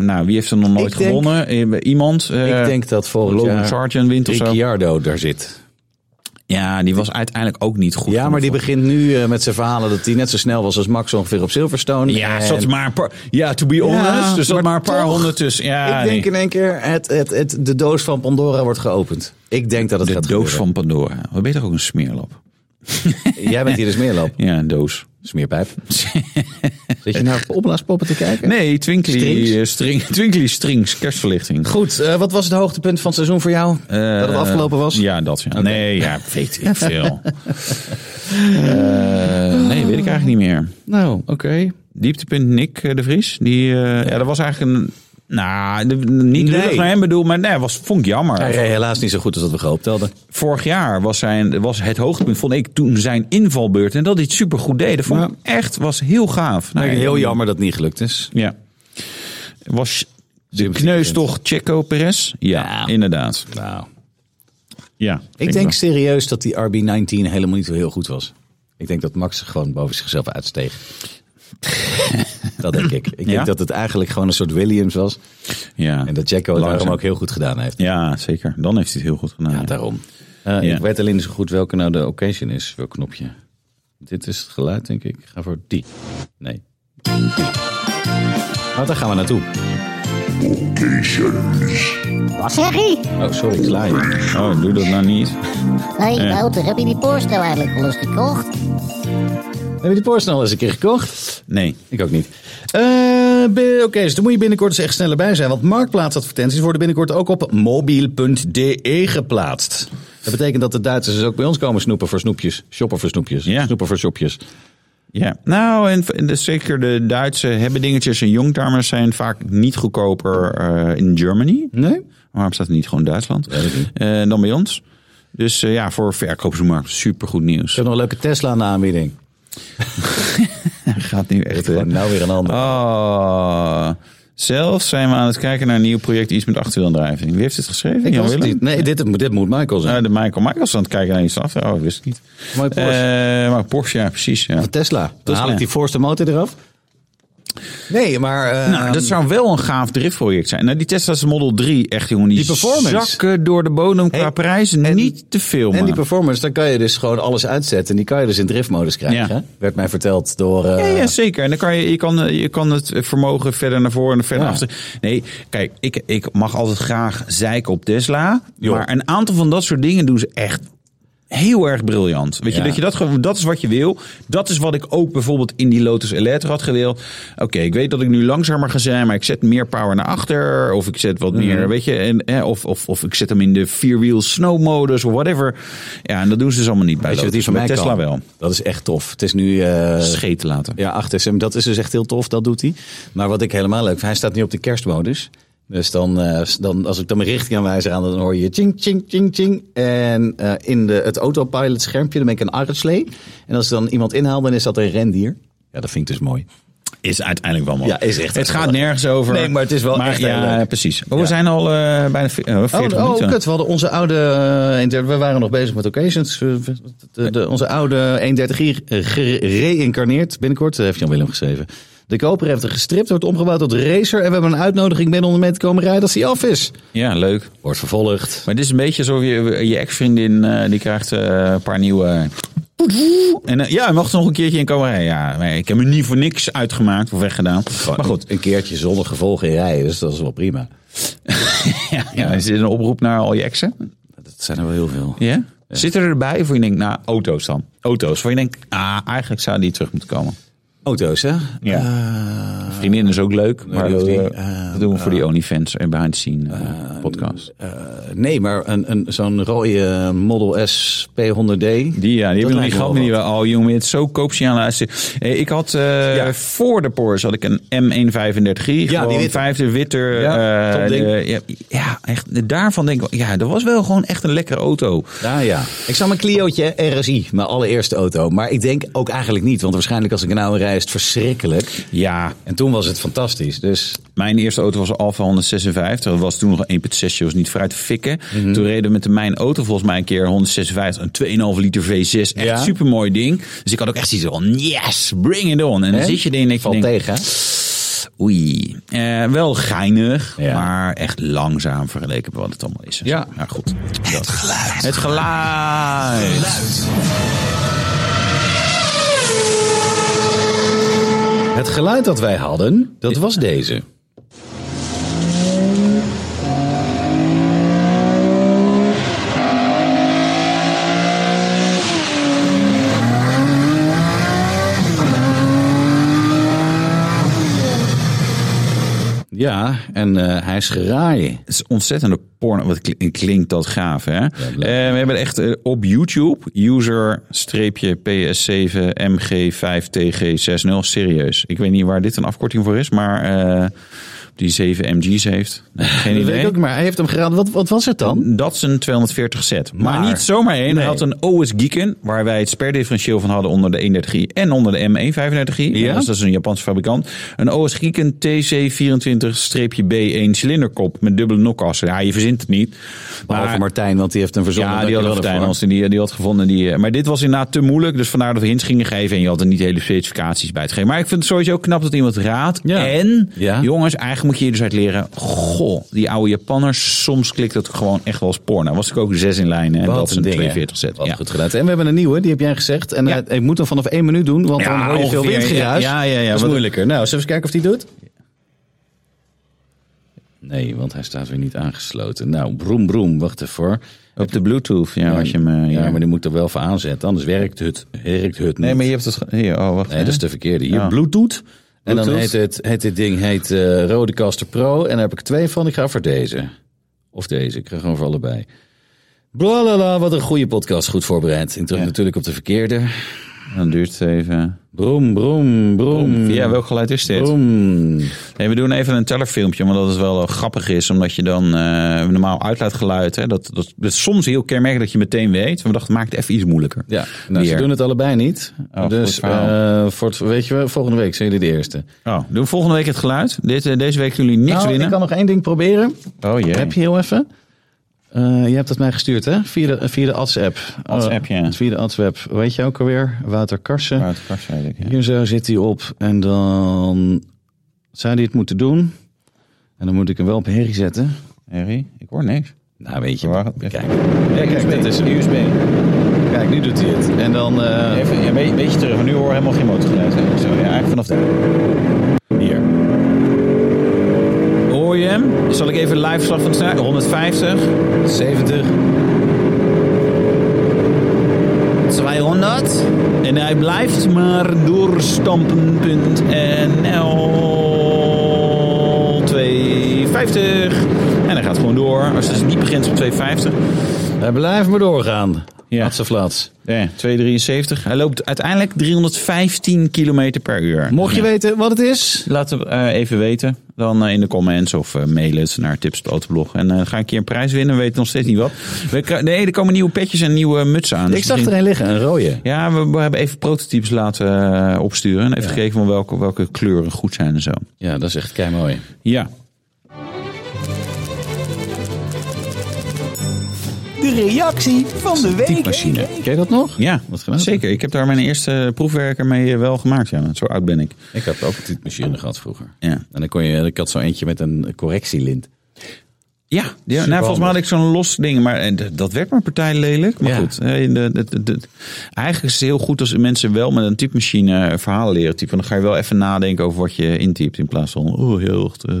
B: nou, wie heeft er nog nooit
C: Ik denk-
B: gewonnen? Eh, Iemand. eh,
C: ik denk dat volgend
B: Logan
C: jaar
B: Sargent wint of zo.
C: Ricciardo daar zit.
B: Ja, die was uiteindelijk ook niet goed.
C: Ja, maar die
B: genoeg.
C: begint nu eh, met zijn verhalen dat hij net zo snel was als Max ongeveer op Silverstone.
B: Ja,
C: En
B: er zat maar een paar. Ja, to be honest, er zat
C: maar
B: maar, een paar
C: toch,
B: honderd tussen. Ja,
C: ik denk
B: nee.
C: in één keer, het, het, het, de doos van Pandora wordt geopend. Ik denk dat het
B: de
C: gaat
B: doos
C: gebeuren.
B: van Pandora. Wat ben je toch ook een smeerlap?
C: Jij bent hier de smeerloop.
B: Ja, een doos.
C: Smeerpijp. Zit je naar opblaaspoppen te kijken?
B: Nee, Twinkly
C: Strings?
B: Strings, string, Twinkly strings kerstverlichting.
C: Goed, eh, wat was het hoogtepunt van het seizoen voor jou?
B: Eh,
C: dat het afgelopen was?
B: Ja, dat ja. Nee, ja, weet ik veel. Eh, nee, weet ik eigenlijk niet meer.
C: Nou, oké.
B: Dieptepunt Nick eh, de Vries. Die, eh, ja, dat was eigenlijk een... Nou, de- niet
C: Nee.
B: lullig naar hem bedoel, maar nee, was, vond ik jammer.
C: Hij reed helaas niet zo goed als dat we gehoopt hadden.
B: Vorig jaar was, zijn, was het hoogtepunt, vond ik, toen zijn invalbeurt. En dat hij het supergoed deed. Dat vond
C: Ja.
B: ik echt, was heel gaaf. Nou,
C: heel jammer dat het niet gelukt is.
B: Ja. Was de
C: Sympathiek
B: kneus
C: punt.
B: toch Checo Perez? Ja,
C: Ja.
B: inderdaad.
C: Nou,
B: Ja,
C: Ik denk
B: wel.
C: serieus dat die RB19 helemaal niet zo heel goed was. Ik denk dat Max gewoon boven zichzelf uitsteeg. dat denk ik. Ik denk
B: Ja?
C: dat het eigenlijk gewoon een soort Williams was.
B: Ja.
C: En dat Jacko het
B: Langzaam.
C: daarom ook heel goed gedaan heeft.
B: Ja, zeker. Dan heeft hij het heel goed gedaan.
C: Ja,
B: ja.
C: daarom. Eh,
B: Ja.
C: Ik weet alleen zo goed welke nou de occasion is. Welk knopje. Dit is het geluid, denk ik. Ik ga voor die. Nee. Nou, daar gaan we naartoe.
E: Wat zeg je?
C: Oh, sorry, ik sla je.
B: Oh, doe dat nou niet.
E: Hé, hey, Wouter, heb je die Porsche nou eigenlijk al eens gekocht?
C: Heb je die Porsche al eens een keer gekocht?
B: Nee.
C: Ik ook niet. Eh, bi- Oké, dus daar moet je binnenkort eens echt sneller bij zijn. Want marktplaatsadvertenties worden binnenkort ook op mobiel.de e geplaatst. Dat betekent dat de Duitsers dus ook bij ons komen snoepen voor snoepjes. Shoppen voor snoepjes.
B: Ja.
C: Snoepen voor shopjes.
B: Ja, nou, en v- en de, zeker de Duitse hebben dingetjes en jongtimers zijn vaak niet goedkoper eh, in Germany.
C: Nee?
B: Waarom staat het niet gewoon Duitsland?
C: ik niet.
B: Eh, dan bij ons. Dus eh, ja, voor verkoopsmarkt supergoed nieuws.
C: Ze hebben nog een leuke Tesla aan de aanbieding.
B: gaat nu echt. hè?
C: Gewoon nou weer een ander.
B: Oh. eh, Zelf zijn we aan het kijken naar een nieuw project, iets met achterwielaandrijving. Wie heeft dit geschreven?
C: ik
B: Jan
C: was het
B: Willem?
C: niet. Nee, dit, dit moet Michael zijn.
B: Eh, de Michael Michaels aan het kijken naar iets af. Oh, wist ik niet.
C: Mooi Porsche.
B: Eh, maar Porsche, ja, precies. Ja.
C: Van Tesla. Dan
B: Tesla.
C: haal ik die voorste motor eraf. Nee, maar... eh,
B: Nou, dat zou wel een gaaf driftproject zijn. Nou, die Tesla's Model 3, echt jongen, die,
C: Die performance.
B: zakken door de bodem qua
C: Hey,
B: prijzen.
C: en-
B: niet te veel,
C: en
B: man.
C: die performance, dan kan je dus gewoon alles uitzetten. En die kan je dus in driftmodus krijgen.
B: Ja.
C: Werd mij verteld door... eh,
B: Ja, ja, zeker. En dan kan je, je, kan, eh, je kan het vermogen verder naar voren en verder
C: Ja.
B: achter. Nee, kijk, ik, ik mag altijd graag zeiken op Tesla.
C: Jo.
B: Maar een aantal van dat soort dingen doen ze echt heel erg briljant. Weet
C: Ja.
B: je, dat, je dat, gewoon- dat is wat je wil. Dat is wat ik ook bijvoorbeeld in die Lotus Electra had gewild. Oké, ik weet dat ik nu langzamer ga zijn, maar ik zet meer power naar achter. Of ik zet wat
C: Mhm.
B: meer, weet je, en, hè, of, of, of ik zet hem in de vierwiel snow modus of whatever. Ja, en dat doen ze dus allemaal niet bij
C: Weet je wat
B: Lotus.
C: die van
B: bij
C: mij
B: Tesla
C: kan?
B: wel.
C: Dat is echt tof. Het is nu... eh,
B: Scheten laten.
C: ja, 8 SM. Dat is dus echt heel tof. Dat doet hij. Maar wat ik helemaal leuk vind, hij staat nu op de kerstmodus. Dus dan, eh, s- dan als ik dan mijn richting aanwijzer aan, dan hoor je ching, ching, ching, ching. En eh, in de, het autopilot schermpje, dan ben ik een arreslee. En als ik dan iemand inhaal, dan is dat een rendier. Ja, dat vind ik dus mooi.
B: Is uiteindelijk wel mooi.
C: Ja, is echt
B: Het gaat
C: geweldig.
B: nergens over.
C: Nee, maar het is wel echt heel
B: ja,
C: leuk.
B: precies. Maar
C: Ja.
B: We zijn al eh, bijna ve- eh, 40
C: Oh,
B: minuten.
C: oh kut, we hadden onze oude... eh, 31 we waren nog bezig met occasions. Eh, de- de- onze oude 31-hier gereïncarneerd binnenkort. Dat heeft Jan Willem geschreven. De koper heeft er gestript, wordt omgebouwd tot racer. En we hebben een uitnodiging binnen om mee te komen rijden als hij af is.
B: Ja, leuk.
C: Wordt vervolgd.
B: Maar dit is een beetje alsof je, je ex-vriendin, eh, die krijgt eh, een paar nieuwe... En eh, ja, hij mag er nog een keertje in komen rijden. Ja, maar ik heb hem niet voor niks uitgemaakt of weggedaan. Maar goed,
C: een keertje zonder gevolgen in rijden, dus dat is wel prima.
B: ja, ja, is dit een oproep naar al je exen?
C: Dat zijn er wel heel veel.
B: Ja? Zitten er erbij voor je denkt, nou, auto's dan. Auto's, waar je denkt, ah, eigenlijk zou die terug moeten komen.
C: Auto's, hè?
B: Ja.
C: Eh,
B: Vriendin is ook leuk, maar
C: die Ah,
B: dat,
C: hoeft
B: eh,
C: niet. Eh,
B: dat doen we voor die OnlyFans en behind the scene eh, podcast.
C: Eh, nee, maar een, een, zo'n rode eh, Model S P100D.
B: Die, ja, die
C: lijkt
B: hebben we niet
C: me
B: gehad.
C: wel
B: maar die
C: wat.
B: wel- Oh jongen, het is zo koop je aan luisteren. Eh, Ik had eh,
C: Ja.
B: voor de Porsche had ik een M135i. Ja,
C: die
B: die
C: witte.
B: vijfde witter.
C: Ja,
B: eh,
C: top ding.
B: de- ja, ja, echt. Daarvan denk ik, wel, ja, dat was wel gewoon echt een lekkere auto.
C: Ja, Ah, ja. Ik zou mijn Clio'tje RSI, mijn allereerste auto. Maar ik denk ook eigenlijk niet, want waarschijnlijk als ik een oude rij is het verschrikkelijk.
B: Ja,
C: En toen was het fantastisch, dus...
B: mijn eerste auto was een Alfa 156. Dat was toen nog 1.6, je was niet vooruit te fikken.
C: Mhm.
B: Toen reden we met de mijn auto volgens mij een keer 156, een 2,5 liter V6. Echt
C: Ja.
B: super mooi ding. Dus ik had ook echt zoiets van, yes, bring it on. En dan
C: hè?
B: zit je erin en denk je,
C: Valt
B: denk-
C: tegen, hè?
B: Oei. Eh, wel geinig,
C: Ja.
B: maar echt langzaam vergeleken met wat het allemaal is.
C: Ja.
B: Maar goed. Het geluid. Het geluid.
C: Het geluid dat wij hadden, dat was deze. Ja, en eh, hij is geraaien.
B: Het is ontzettende porno. Wat kli- klinkt dat gaaf, hè? Eh, we
C: leuk.
B: hebben echt eh, op YouTube user-ps7mg5tg60. Serieus. Ik weet niet waar dit een afkorting voor is, maar eh, die 7 mg's heeft. Geen
C: Dat
B: idee.
C: weet ik ook, maar hij heeft hem geraden. Wat, wat was het dan?
B: Dat is een 240 set. Maar,
C: Maar-
B: niet zomaar één.
C: Nee.
B: Hij had een OS Geeken, waar wij het sperdifferentieel van hadden onder de 31i en onder de M135i.
C: Ja?
B: Dus dat is een Japanse fabrikant. Een OS Geeken TC24-B1 cilinderkop met dubbele nokassen. Ja, je verzint het niet.
C: Behalve
B: Maar-
C: Martijn, want die heeft een verzonnen.
B: ja, die had
C: Dankjewel
B: Martijn
C: daarvoor.
B: als die, die had gevonden. Die, eh, maar dit was inderdaad te moeilijk. Dus vandaar dat we hints gingen geven. En je had er niet hele specificaties bij te geven. Maar ik vind het sowieso knap dat iemand raadt.
C: Ja.
B: En
C: Ja.
B: jongens, eigenlijk moet je hier dus uit leren. Goh, die oude Japanners. Soms klikt dat gewoon echt wel als porno. Was ik ook zes in lijn. hè, En
C: Wat
B: dat is een
C: ding, hè?
B: 42 set.
C: Wat
B: Ja.
C: goed gedaan. En we hebben een nieuwe, die heb jij gezegd. En
B: Ja.
C: eh, ik moet hem vanaf één minuut doen, want
B: Ja,
C: dan hoor je veel
B: ongeveer,
C: windgeruis.
B: ja. Ja, ja, ja,
C: dat is
B: wat-
C: moeilijker. Nou, zullen we eens kijken of die doet? Nee, want hij staat weer niet aangesloten. Nou, broem broem, wacht even hoor.
B: Op de Bluetooth, ja, als je hem... eh,
C: Ja,
B: ja.
C: maar die moet er wel voor aanzetten, anders werkt het, werkt het niet.
B: Nee, maar je hebt het... ge- Hier, oh, wacht.
C: Nee, dat is de verkeerde. Hier,
B: Ja.
C: Bluetooth. En dan
B: Bluetooth.
C: heet, het, heet dit ding heet, eh Rodecaster Pro. En daar heb ik twee van. Ik ga voor deze. Of deze. Ik ga gewoon voor allebei. Blablabla, wat een goede podcast. Goed voorbereid. Ik druk natuurlijk op de verkeerde.
B: Dan duurt het even.
C: Broem, broem, broem.
B: Ja, welk geluid is dit?
C: broem.
B: Hey, we doen even een tellerfilmpje, omdat het wel eh, grappig is. Omdat je dan eh, normaal uitlaatgeluid... Hè, dat, dat, dat is soms heel kenmerkend dat je meteen weet. We dachten, maak het even iets moeilijker.
C: Ja, nou, ze
B: Weer.
C: doen het allebei niet.
B: Oh,
C: dus
B: goed verhaal.
C: eh, voor het, weet je wel, volgende week zijn jullie de eerste.
B: Oh, doen we volgende week het geluid. Dit, eh, deze week kunnen jullie niks
C: Nou,
B: winnen.
C: ik kan nog één ding proberen.
B: Oh jee.
C: Heb je heel even? Eh, je hebt het mij gestuurd, hè? Via de, via de ads-app.
B: Ads-app, ja.
C: Via de ads-app. Weet je ook alweer? Wouter Karsen.
B: Uit de kast, weet ik, ja.
C: Hier zo zit hij op. En dan zou hij het moeten doen. En dan moet ik hem wel op herrie zetten.
B: Harry, ik hoor niks.
C: Nou, weet je.
B: Waar-
C: Kijk, kijk dit is een USB. Kijk, nu doet hij het. En dan... eh,
B: Even ja, een be- beetje terug, want nu hoor helemaal geen motorgeluid. hè. Zo, ja, eigenlijk vanaf daar. Hier. Hoor je hem? Zal ik even live slag van het staan? 150. 70. 200. En hij blijft maar doorstampen.nl 250. En hij gaat gewoon door. Als het niet begint op 250.
C: Hij blijft maar doorgaan.
B: Ja.
C: Ja. Flats.
B: Ja, 273. Hij loopt uiteindelijk 315 km per uur.
C: Mocht je weten wat het is...
B: Laat het eh, even weten. Dan eh, in de comments of eh, mail het naar tips autoblog. En eh, ga ik hier een prijs winnen. We weten nog steeds niet wat. We kra- nee, er komen nieuwe petjes en nieuwe mutsen aan. Dus
C: Ik zag er
B: misschien-
C: een liggen, een rode.
B: Ja, we, we hebben even prototypes laten eh, opsturen. En even gekeken van welke, welke kleuren goed zijn en zo.
C: Ja, dat is echt kei mooi.
B: Ja.
D: De reactie van de week.
B: Machine.
C: Ken je dat nog?
B: Ja,
C: Wat gedaan?
B: zeker. Ik heb daar mijn eerste proefwerker mee eh, wel gemaakt. Ja, want zo oud ben ik.
C: Ik had ook een typemachine gehad vroeger.
B: Ja.
C: En dan kon je, ik had zo eentje met een correctielint.
B: Ja, ja nou, volgens mij had ik zo'n los ding. Maar eh, d- dat werd mijn partij lelijk. Maar
C: Ja.
B: goed, eh, de- de- de- de- eigenlijk is het heel goed als mensen wel met een typemachine eh, verhalen leren typen. Dan ga je wel even nadenken over wat je intypt. In plaats van, oh heel erg. eh,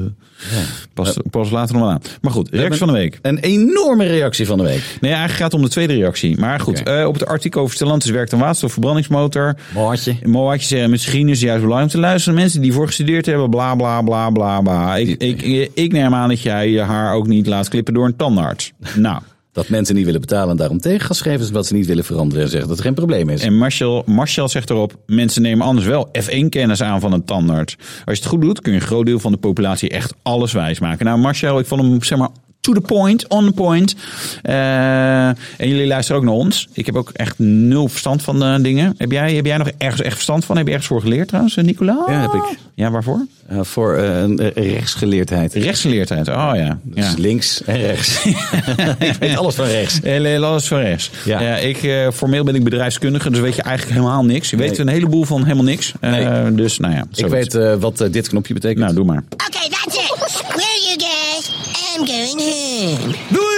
B: pas, pas later nog wel aan. Maar goed, reactie van de week.
C: Een enorme reactie van de week.
B: Nee, eigenlijk gaat het om de tweede reactie. Maar goed,
C: Oké.
B: eh, op het artikel over Stellantis werkt een waterstofverbrandingsmotor.
C: Maatje.
B: Moatje zeggen, misschien is het juist belangrijk om te luisteren. Mensen die voor gestudeerd hebben, bla bla bla bla bla. Ik, ik, ik, neem aan dat jij je haar ook niet laat klippen door een tandarts. Nou,
C: Dat mensen niet willen betalen en daarom tegen gaan schrijven. Omdat ze niet willen veranderen en zeggen dat het geen probleem is.
B: en Marcel, Marcel zegt erop, mensen nemen anders wel F1-kennis aan van een tandarts. Als je het goed doet, kun je een groot deel van de populatie echt alles wijs maken. Nou Marcel, ik vond hem zeg maar to the point, on the point. Eh, en jullie luisteren ook naar ons. Ik heb ook echt nul verstand van eh, dingen. Heb jij, heb jij nog ergens echt verstand van? Heb je ergens voor geleerd trouwens, eh, Nicola?
C: Ja, heb ik.
B: Ja, waarvoor?
C: Eh, voor eh, een eh, rechtsgeleerdheid.
B: Rechtsgeleerdheid, oh ja.
C: Dus
B: ja.
C: links en rechts. ik weet alles van rechts.
B: Eh, Alles van rechts. Ja.
C: Ja.
B: ik, eh, formeel ben ik bedrijfskundige, dus weet je eigenlijk helemaal niks. Je weet
C: Nee.
B: een heleboel van helemaal niks. Eh, Dus nou ja,
C: ik
B: zoiets.
C: weet eh, wat eh, dit knopje betekent.
B: Nou, doe maar.
E: Okay, that's it. Where you guys? I'm going home.
D: Doei!